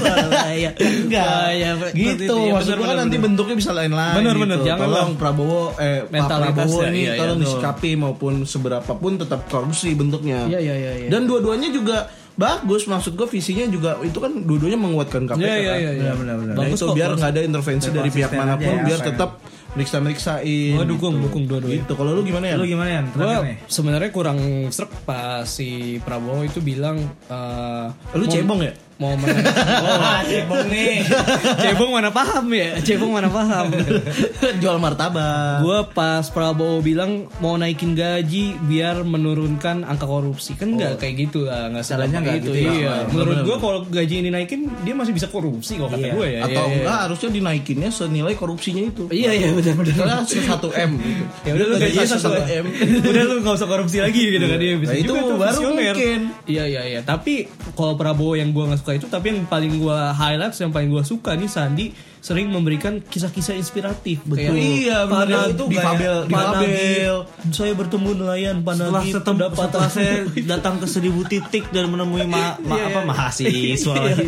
Speaker 2: Bahaya Bahaya
Speaker 1: gitu
Speaker 2: iya,
Speaker 1: maksud gua kan nanti bentuknya bisa lain-lain
Speaker 2: Bener,
Speaker 1: gitu.
Speaker 2: bener. Jangan
Speaker 1: tolong Prabowo eh Pak
Speaker 2: Mentalitas
Speaker 1: Prabowo
Speaker 2: ya,
Speaker 1: nih
Speaker 2: iya, iya,
Speaker 1: tolong
Speaker 2: betul.
Speaker 1: disikapi maupun seberapa pun tetap korupsi bentuknya
Speaker 2: Iya, iya, iya, iya.
Speaker 1: dan dua-duanya juga bagus maksud gua visinya juga itu kan dua-duanya menguatkan KPK
Speaker 2: Iya iya iya
Speaker 4: Benar, benar, benar.
Speaker 1: kan. Nah,
Speaker 2: Bagus
Speaker 1: itu
Speaker 2: kok
Speaker 1: biar
Speaker 2: bagus.
Speaker 1: nggak ada intervensi dari pihak
Speaker 4: konsisten
Speaker 1: manapun
Speaker 4: aja ya,
Speaker 1: biar
Speaker 4: apa ya.
Speaker 1: tetap meriksa-meriksain
Speaker 2: Gua dukung, dukung dua-duanya.
Speaker 1: gitu kalau lu gimana ya
Speaker 4: lu gimana ya
Speaker 2: gue Eh, sebenarnya kurang serak pas si Prabowo itu bilang eh,
Speaker 1: Lu
Speaker 2: mau-
Speaker 1: cebong ya?
Speaker 2: mau menang oh, cebong nih cebong mana paham ya cebong mana paham
Speaker 1: jual martabak
Speaker 2: gue pas Prabowo bilang mau naikin gaji biar menurunkan angka korupsi kan nggak kayak gitu lah nggak
Speaker 4: Caranya
Speaker 2: segampang
Speaker 4: nggak
Speaker 2: itu
Speaker 4: gitu ya,
Speaker 2: iya
Speaker 4: Pak.
Speaker 2: menurut gue kalau gaji ini naikin dia masih bisa korupsi kalau kata
Speaker 4: Iya.
Speaker 2: gue ya
Speaker 1: atau
Speaker 2: Iya, iya.
Speaker 1: enggak harusnya dinaikinnya senilai korupsinya itu
Speaker 2: iya iya benar benar
Speaker 1: Misalnya 1 M gitu.
Speaker 2: ya udah lu gajinya
Speaker 1: Gajinya
Speaker 2: satu
Speaker 1: 1 M.
Speaker 2: udah lu nggak usah korupsi lagi gitu kan dia bisa
Speaker 1: Nah, itu
Speaker 2: juga tuh
Speaker 1: baru
Speaker 2: visioner.
Speaker 1: mungkin.
Speaker 2: iya iya iya tapi kalau Prabowo yang gua nggak suka itu tapi yang paling gua highlight yang paling gua suka nih Sandi sering memberikan kisah-kisah inspiratif betul
Speaker 1: Iya, benar.
Speaker 2: itu
Speaker 1: Di Fabel, di Fabel.
Speaker 2: saya bertemu nelayan
Speaker 4: setelah
Speaker 2: panagi
Speaker 4: setem, setelah saya Gitu, datang ke seribu titik dan menemui ma, ma-
Speaker 2: Iya,
Speaker 4: apa
Speaker 2: iya.
Speaker 4: mahasiswa lagi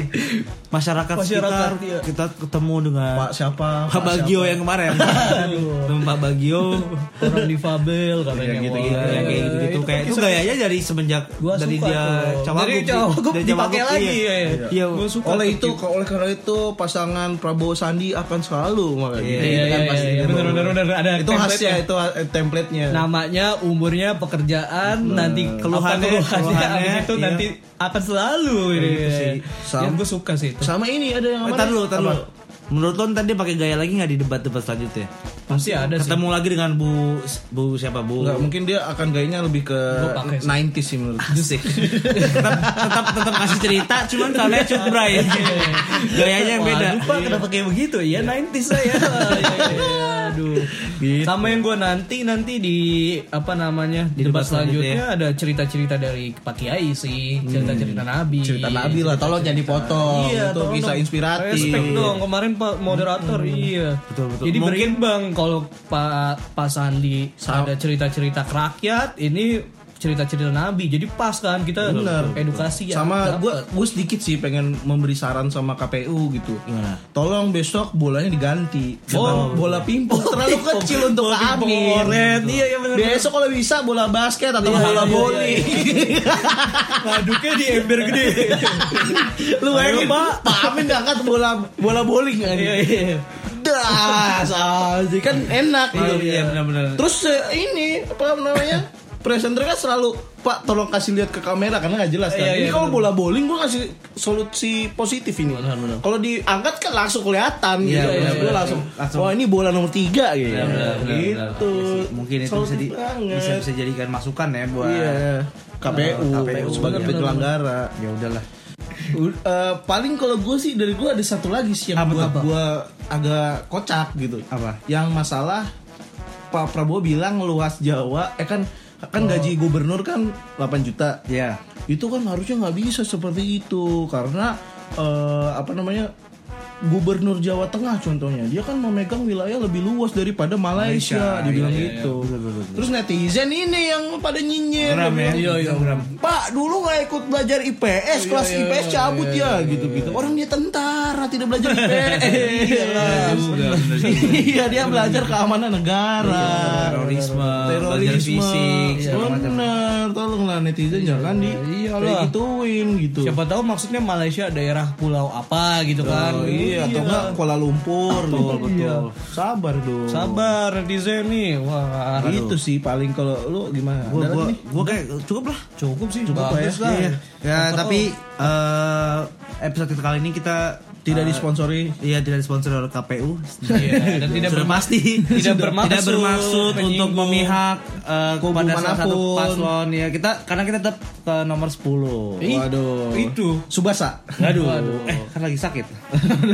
Speaker 4: masyarakat,
Speaker 2: Masyarakat,
Speaker 4: sekitar
Speaker 2: iya.
Speaker 4: kita ketemu dengan
Speaker 1: Pak siapa?
Speaker 4: Pak Bagio ya. yang kemarin Ketemu Pak Bagio
Speaker 2: orang di Fabel katanya
Speaker 4: yang gitu
Speaker 2: Wah,
Speaker 4: gitu yang kayak gitu gitu
Speaker 2: itu
Speaker 4: kayak itu
Speaker 2: kisah-
Speaker 4: gayanya dari semenjak
Speaker 2: Iya, Gua
Speaker 4: dari
Speaker 2: suka
Speaker 4: dia
Speaker 2: tuh.
Speaker 4: cawagup
Speaker 2: Dari cawagup
Speaker 4: Dari
Speaker 2: dipakai
Speaker 4: cawagup,
Speaker 2: lagi,
Speaker 4: iya.
Speaker 2: iya, iya.
Speaker 4: iya
Speaker 2: Gua suka
Speaker 1: Oleh
Speaker 2: tuh
Speaker 1: itu, oleh karena itu pasangan Prabowo Sandi akan selalu malah
Speaker 4: Iya,
Speaker 1: gitu.
Speaker 2: iya
Speaker 1: Kan
Speaker 2: iya
Speaker 1: pasti
Speaker 2: iya
Speaker 1: gitu.
Speaker 2: benar benar benar ada
Speaker 1: Itu khasnya
Speaker 2: template-nya. Nah.
Speaker 1: itu eh, template-nya.
Speaker 2: namanya umurnya pekerjaan nanti keluhannya, Iya, keluhannya
Speaker 4: keluhannya,
Speaker 2: abis
Speaker 4: keluhannya,
Speaker 2: itu
Speaker 4: iya.
Speaker 2: nanti akan selalu ini
Speaker 4: sih.
Speaker 2: ya
Speaker 1: Sam-
Speaker 2: gue suka sih itu
Speaker 1: Sama ini ada yang
Speaker 4: Eh,
Speaker 1: apa?
Speaker 4: tar dulu tar
Speaker 1: Apa?
Speaker 4: dulu menurut lo ntar dia pakai gaya lagi nggak di debat-debat selanjutnya
Speaker 2: pasti ada sih
Speaker 4: ketemu lagi dengan bu bu siapa bu
Speaker 1: Enggak, mungkin dia akan gayanya lebih ke
Speaker 2: Gua pakai sih.
Speaker 1: 90s sih menurut.
Speaker 4: Asik. tetap tetap tetap kasih cerita cuman soalnya cutbray ya. Gayanya yang beda.
Speaker 2: Iya. Waduh, Pak, kenapa kayak begitu ya 90s saya Wah, iya, iya, iya. aduh sama yang gue nanti nanti di apa namanya di debat
Speaker 4: debat
Speaker 2: selanjutnya ada cerita cerita dari Pak Kiai sih cerita cerita Nabi
Speaker 1: Cerita Nabi lah, tolong jangan dipotong. itu
Speaker 2: Iya, tolong
Speaker 1: bisa
Speaker 2: dong.
Speaker 1: inspiratif.
Speaker 2: Respect dong kemarin Pak moderator iya.
Speaker 4: Betul, betul.
Speaker 2: Jadi
Speaker 4: Mungkin-
Speaker 2: berimbang kalau Pak Pak Sandi ada cerita-cerita ke rakyat, ini cerita-cerita Nabi. Jadi pas kan kita edukasi ya.
Speaker 1: sama gue gue sedikit sih pengen memberi saran sama KPU gitu
Speaker 4: Gimana?
Speaker 1: tolong besok bolanya diganti Jangan bola pingpong Oh. terlalu kecil untuk
Speaker 2: bola pingpong
Speaker 1: Amin
Speaker 2: oren. Iya, iya, bener,
Speaker 1: besok kalau bisa bola basket atau
Speaker 2: Iya,
Speaker 1: bola
Speaker 2: iya, iya,
Speaker 1: bowling
Speaker 2: ngaduknya di ember gede.
Speaker 1: lu bayangin Gitu, pak pak Amin ngangkat bola bola bowling kan
Speaker 2: Iya, iya.
Speaker 1: das aja. kan enak gitu
Speaker 4: Iya benar-benar.
Speaker 1: terus eh, ini apa namanya presenter kan selalu Pak tolong kasih lihat ke kamera karena nggak jelas kan.
Speaker 2: Iya, iya,
Speaker 1: ini kalau bola bowling gue kasih solusi positif ini. Kalau diangkat kan langsung kelihatan
Speaker 4: Iya,
Speaker 1: gitu.
Speaker 4: iya,
Speaker 1: Maksud gua
Speaker 4: iya.
Speaker 1: langsung,
Speaker 4: Langsung.
Speaker 1: Wah
Speaker 4: Iya,
Speaker 1: ini bola nomor tiga gitu.
Speaker 4: Benar, benar, benar, benar.
Speaker 1: gitu.
Speaker 4: Mungkin itu
Speaker 1: Solutif
Speaker 4: bisa di,
Speaker 1: banget.
Speaker 4: bisa bisa jadikan masukan ya buat
Speaker 1: Iya. KPU,
Speaker 4: Oh, KPU,
Speaker 1: sebagai
Speaker 4: iya.
Speaker 1: penyelenggara.
Speaker 4: ya udahlah.
Speaker 1: U- eh, paling kalau gue sih dari gue ada satu lagi sih yang
Speaker 4: Apa
Speaker 1: buat
Speaker 4: tuh, apa?
Speaker 1: gue agak kocak gitu.
Speaker 4: Apa?
Speaker 1: Yang masalah Pak Prabowo bilang luas Jawa, eh kan
Speaker 4: Oh.
Speaker 1: kan gaji gubernur kan 8 juta.
Speaker 4: Iya.
Speaker 1: Itu kan harusnya nggak bisa seperti itu karena eh, apa namanya gubernur Jawa Tengah contohnya dia kan memegang wilayah lebih luas daripada Malaysia, dia
Speaker 4: Iya,
Speaker 1: bilang gitu terus netizen ini yang pada nyinyir
Speaker 4: Geram
Speaker 1: dia
Speaker 4: ya.
Speaker 1: bilang,
Speaker 4: Iya, iya.
Speaker 1: Pak dulu nggak ikut belajar IPS kelas IPS cabut
Speaker 4: iya,
Speaker 1: ya gitu gitu orang dia tentara tidak belajar IPS
Speaker 5: juga, bener
Speaker 1: iya dia belajar keamanan
Speaker 4: Iya,
Speaker 1: negara
Speaker 5: terorisme, belajar
Speaker 4: Eh,
Speaker 1: terorisme
Speaker 5: fisik,
Speaker 2: Iya.
Speaker 5: segala macam.
Speaker 1: bener tolonglah netizen jangan di
Speaker 2: Iyalah.
Speaker 1: gituin gitu
Speaker 2: Siapa tahu maksudnya Malaysia daerah pulau apa gitu kan.
Speaker 1: Oh, iya, atau enggak Kuala Lumpur betul betul sabar dong
Speaker 2: Sabar netizen nih. Wah,
Speaker 1: itu sih paling kalau lu gimana
Speaker 4: Gua,
Speaker 1: Dalam
Speaker 4: gua,
Speaker 1: nih?
Speaker 4: gua kayak cukup lah.
Speaker 2: cukup sih.
Speaker 1: Cukup
Speaker 2: bagus
Speaker 1: ya.
Speaker 2: lah.
Speaker 4: Iya. Ya, tapi eh, episode kita kali ini kita
Speaker 1: tidak
Speaker 4: eh,
Speaker 1: disponsori
Speaker 4: Iya tidak disponsori oleh KPU.
Speaker 2: Iya, dan tidak
Speaker 4: Sudah
Speaker 2: bermaksud
Speaker 4: pasti
Speaker 2: tidak bermaksud
Speaker 4: tidak bermaksud untuk
Speaker 2: menyinggung
Speaker 4: memihak eh,
Speaker 1: kubu
Speaker 4: kepada salah satu
Speaker 1: manapun.
Speaker 4: paslon ya kita karena kita tetap ke nomor 10
Speaker 1: waduh
Speaker 2: itu.
Speaker 1: subasa
Speaker 4: Aduh, eh kan lagi sakit.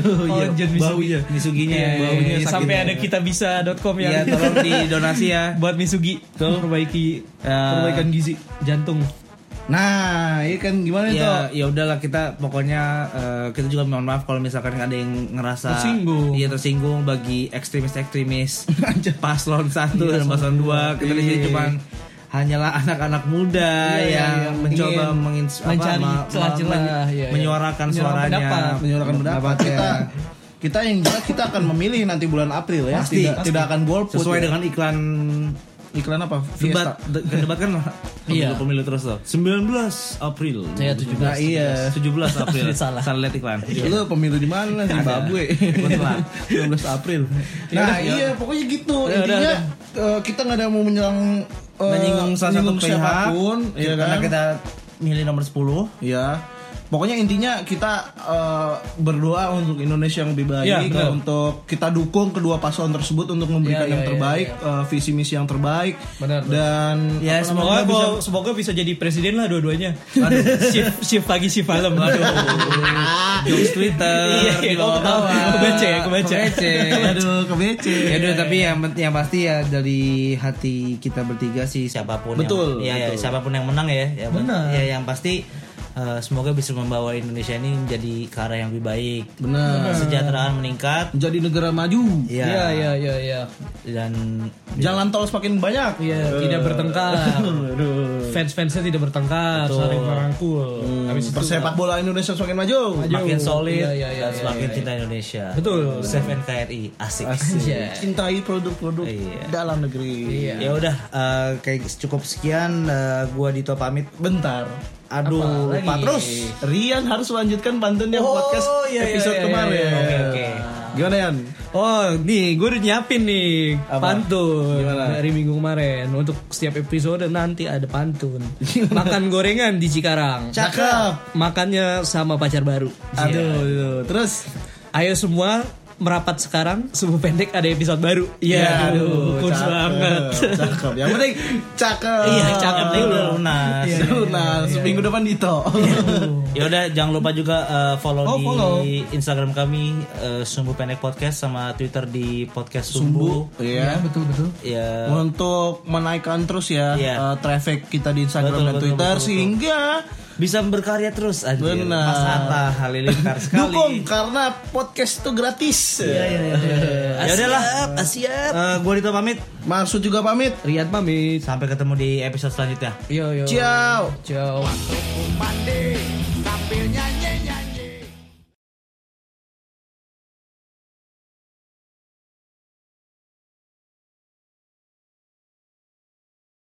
Speaker 2: Oh, jadi
Speaker 1: baunya.
Speaker 4: Misuginya
Speaker 2: Iya,
Speaker 4: ya,
Speaker 2: iya,
Speaker 4: baunya
Speaker 2: iya.
Speaker 4: sakit.
Speaker 2: sampai ada kitabisa.com yang
Speaker 4: Iya, tolong didonasi ya.
Speaker 2: ya. buat Misugi perbaiki perbaikan gizi jantung.
Speaker 1: nah ini kan gimana itu
Speaker 4: Ya, ya udahlah kita pokoknya eh, kita juga mohon maaf kalau misalkan ada yang ngerasa
Speaker 2: Tersinggung.
Speaker 4: Iya tersinggung bagi ekstremis-ekstremis paslon satu
Speaker 2: Iya,
Speaker 4: dan paslon dua. Kita di sini
Speaker 1: Iya.
Speaker 4: cuman hanyalah anak-anak
Speaker 2: Iya,
Speaker 4: muda yang
Speaker 2: yang
Speaker 4: mencoba
Speaker 2: ingin
Speaker 4: mengins- apa,
Speaker 2: mencari
Speaker 4: ma- ma-
Speaker 2: celah-celah, iya,
Speaker 4: men-
Speaker 2: iya.
Speaker 4: menyuarakan
Speaker 2: Menyuarakan
Speaker 4: suaranya,
Speaker 2: pendapat. iya.
Speaker 1: menyuarakan pendapat kita kita yang jelas kita akan memilih nanti bulan April ya
Speaker 4: Pasti,
Speaker 1: tidak
Speaker 4: pasti.
Speaker 1: tidak akan golput
Speaker 4: sesuai
Speaker 1: ya.
Speaker 4: dengan iklan
Speaker 1: iklan apa
Speaker 4: debat
Speaker 1: Fiesta
Speaker 4: de- debat kan
Speaker 2: Iya.
Speaker 4: pemilu terus tuh 19 April
Speaker 2: Iya, 17.
Speaker 1: nah iya
Speaker 4: 17 April
Speaker 2: Salah. Iya.
Speaker 4: salah lihat iklan
Speaker 1: Lu pemilu di mana? Zimbabwe.
Speaker 4: Betulan.
Speaker 1: 12 April. Nah, iya pokoknya gitu.
Speaker 2: Ya udah,
Speaker 1: Intinya eh, kita nggak ada mau menyelang eh,
Speaker 4: menyinggung Iya salah satu
Speaker 1: menyinggung
Speaker 4: pihak
Speaker 1: siapapun, ya
Speaker 4: karena
Speaker 1: kan?
Speaker 4: kita milih nomor 10
Speaker 1: Ya. Pokoknya intinya kita eh, berdoa untuk Indonesia yang lebih baik,
Speaker 2: Ya, betul.
Speaker 1: untuk kita dukung kedua paslon tersebut untuk memberikan
Speaker 2: Ya, ya,
Speaker 1: yang
Speaker 2: ya,
Speaker 1: terbaik, eh, visi misi yang terbaik,
Speaker 2: Benar, benar.
Speaker 1: dan apa
Speaker 4: ya
Speaker 2: Semoga
Speaker 4: semoga bisa
Speaker 2: bisa, semoga bisa jadi presiden lah dua-duanya. shift shift pagi shift malam. Aduh.
Speaker 4: jokes Twitter
Speaker 2: Iya, iya,
Speaker 4: di
Speaker 2: kau
Speaker 4: bawah-bawah.
Speaker 2: tahu. Kebaca ya, kebaca.
Speaker 4: Kebaca.
Speaker 1: Aduh, kebece.
Speaker 4: ya udah tapi yang pent- yang pasti ya dari hati kita bertiga sih siapapun
Speaker 1: Betul,
Speaker 4: yang, ya, ya,
Speaker 1: betul.
Speaker 4: siapapun yang menang ya ya benar ya yang pasti eh, semoga bisa membawa Indonesia ini menjadi ke arah yang lebih baik
Speaker 1: Benar.
Speaker 4: kesejahteraan meningkat
Speaker 1: Menjadi negara maju.
Speaker 4: ya,
Speaker 2: Iya iya iya iya.
Speaker 4: dan
Speaker 1: Jalan tol semakin banyak.
Speaker 2: Iya, tidak bertengkar. Fans-fansnya tidak bertengkar, saling merangkul. Habis itu-
Speaker 1: Persepak bola Indonesia semakin maju.
Speaker 4: makin solid
Speaker 2: Iya, iya, iya,
Speaker 4: dan
Speaker 2: iya,
Speaker 4: semakin
Speaker 2: iya.
Speaker 4: cinta Indonesia
Speaker 2: Betul.
Speaker 4: Save NKRI asik,
Speaker 2: Iya.
Speaker 1: Cintai produk-produk
Speaker 4: Iya.
Speaker 1: dalam negeri.
Speaker 2: Iya.
Speaker 4: ya udah eh, kayak cukup sekian eh, gua Dito pamit
Speaker 1: Bentar.
Speaker 4: aduh
Speaker 2: Apa lagi?
Speaker 4: lupa terus
Speaker 1: Rian harus melanjutkan pantun yang
Speaker 2: Oh,
Speaker 1: podcast
Speaker 2: iya, iya,
Speaker 1: episode
Speaker 2: iya,
Speaker 1: kemarin.
Speaker 2: iya, iya. Oke,
Speaker 4: oke.
Speaker 1: Gimana Yan?
Speaker 2: Oh, nih gue udah nyiapin nih pantun
Speaker 1: Gimana?
Speaker 2: dari minggu kemarin. Untuk setiap episode nanti ada pantun. Makan gorengan di Cikarang.
Speaker 1: Cakep.
Speaker 2: Iya. Makannya sama pacar baru.
Speaker 1: Aduh, aduh. terus
Speaker 2: Ayo semua merapat sekarang. Subuh pendek ada episode baru.
Speaker 1: Ya,
Speaker 2: Iya, aduh, kurs
Speaker 1: cakep,
Speaker 2: banget.
Speaker 1: Cakep. Yang penting cakep.
Speaker 4: iya cakep nih udah lunas
Speaker 1: Iya, Lunas. Minggu depan Dito.
Speaker 4: ya udah jangan lupa juga eh, follow
Speaker 1: Oh,
Speaker 4: di
Speaker 1: follow.
Speaker 4: Instagram kami eh, Sumbu Pendek Podcast sama Twitter di podcast Sumbu,
Speaker 1: Iya.
Speaker 2: betul betul.
Speaker 4: ya
Speaker 1: Untuk menaikkan terus ya
Speaker 4: Iya.
Speaker 1: eh, traffic kita di Instagram
Speaker 4: Betul,
Speaker 1: dan
Speaker 4: betul,
Speaker 1: Twitter
Speaker 4: betul, betul.
Speaker 1: sehingga
Speaker 4: bisa berkarya terus aja
Speaker 1: Benar.
Speaker 4: Mas Atta halilintar sekali
Speaker 1: dukung karena podcast itu gratis.
Speaker 4: ya udahlah siap gua Dito pamit
Speaker 1: Maksud juga pamit.
Speaker 2: Rian pamit.
Speaker 4: sampai ketemu di episode selanjutnya
Speaker 2: Yo yo.
Speaker 1: Ciao.
Speaker 2: Ciao.
Speaker 3: Mandi sambil nyanyi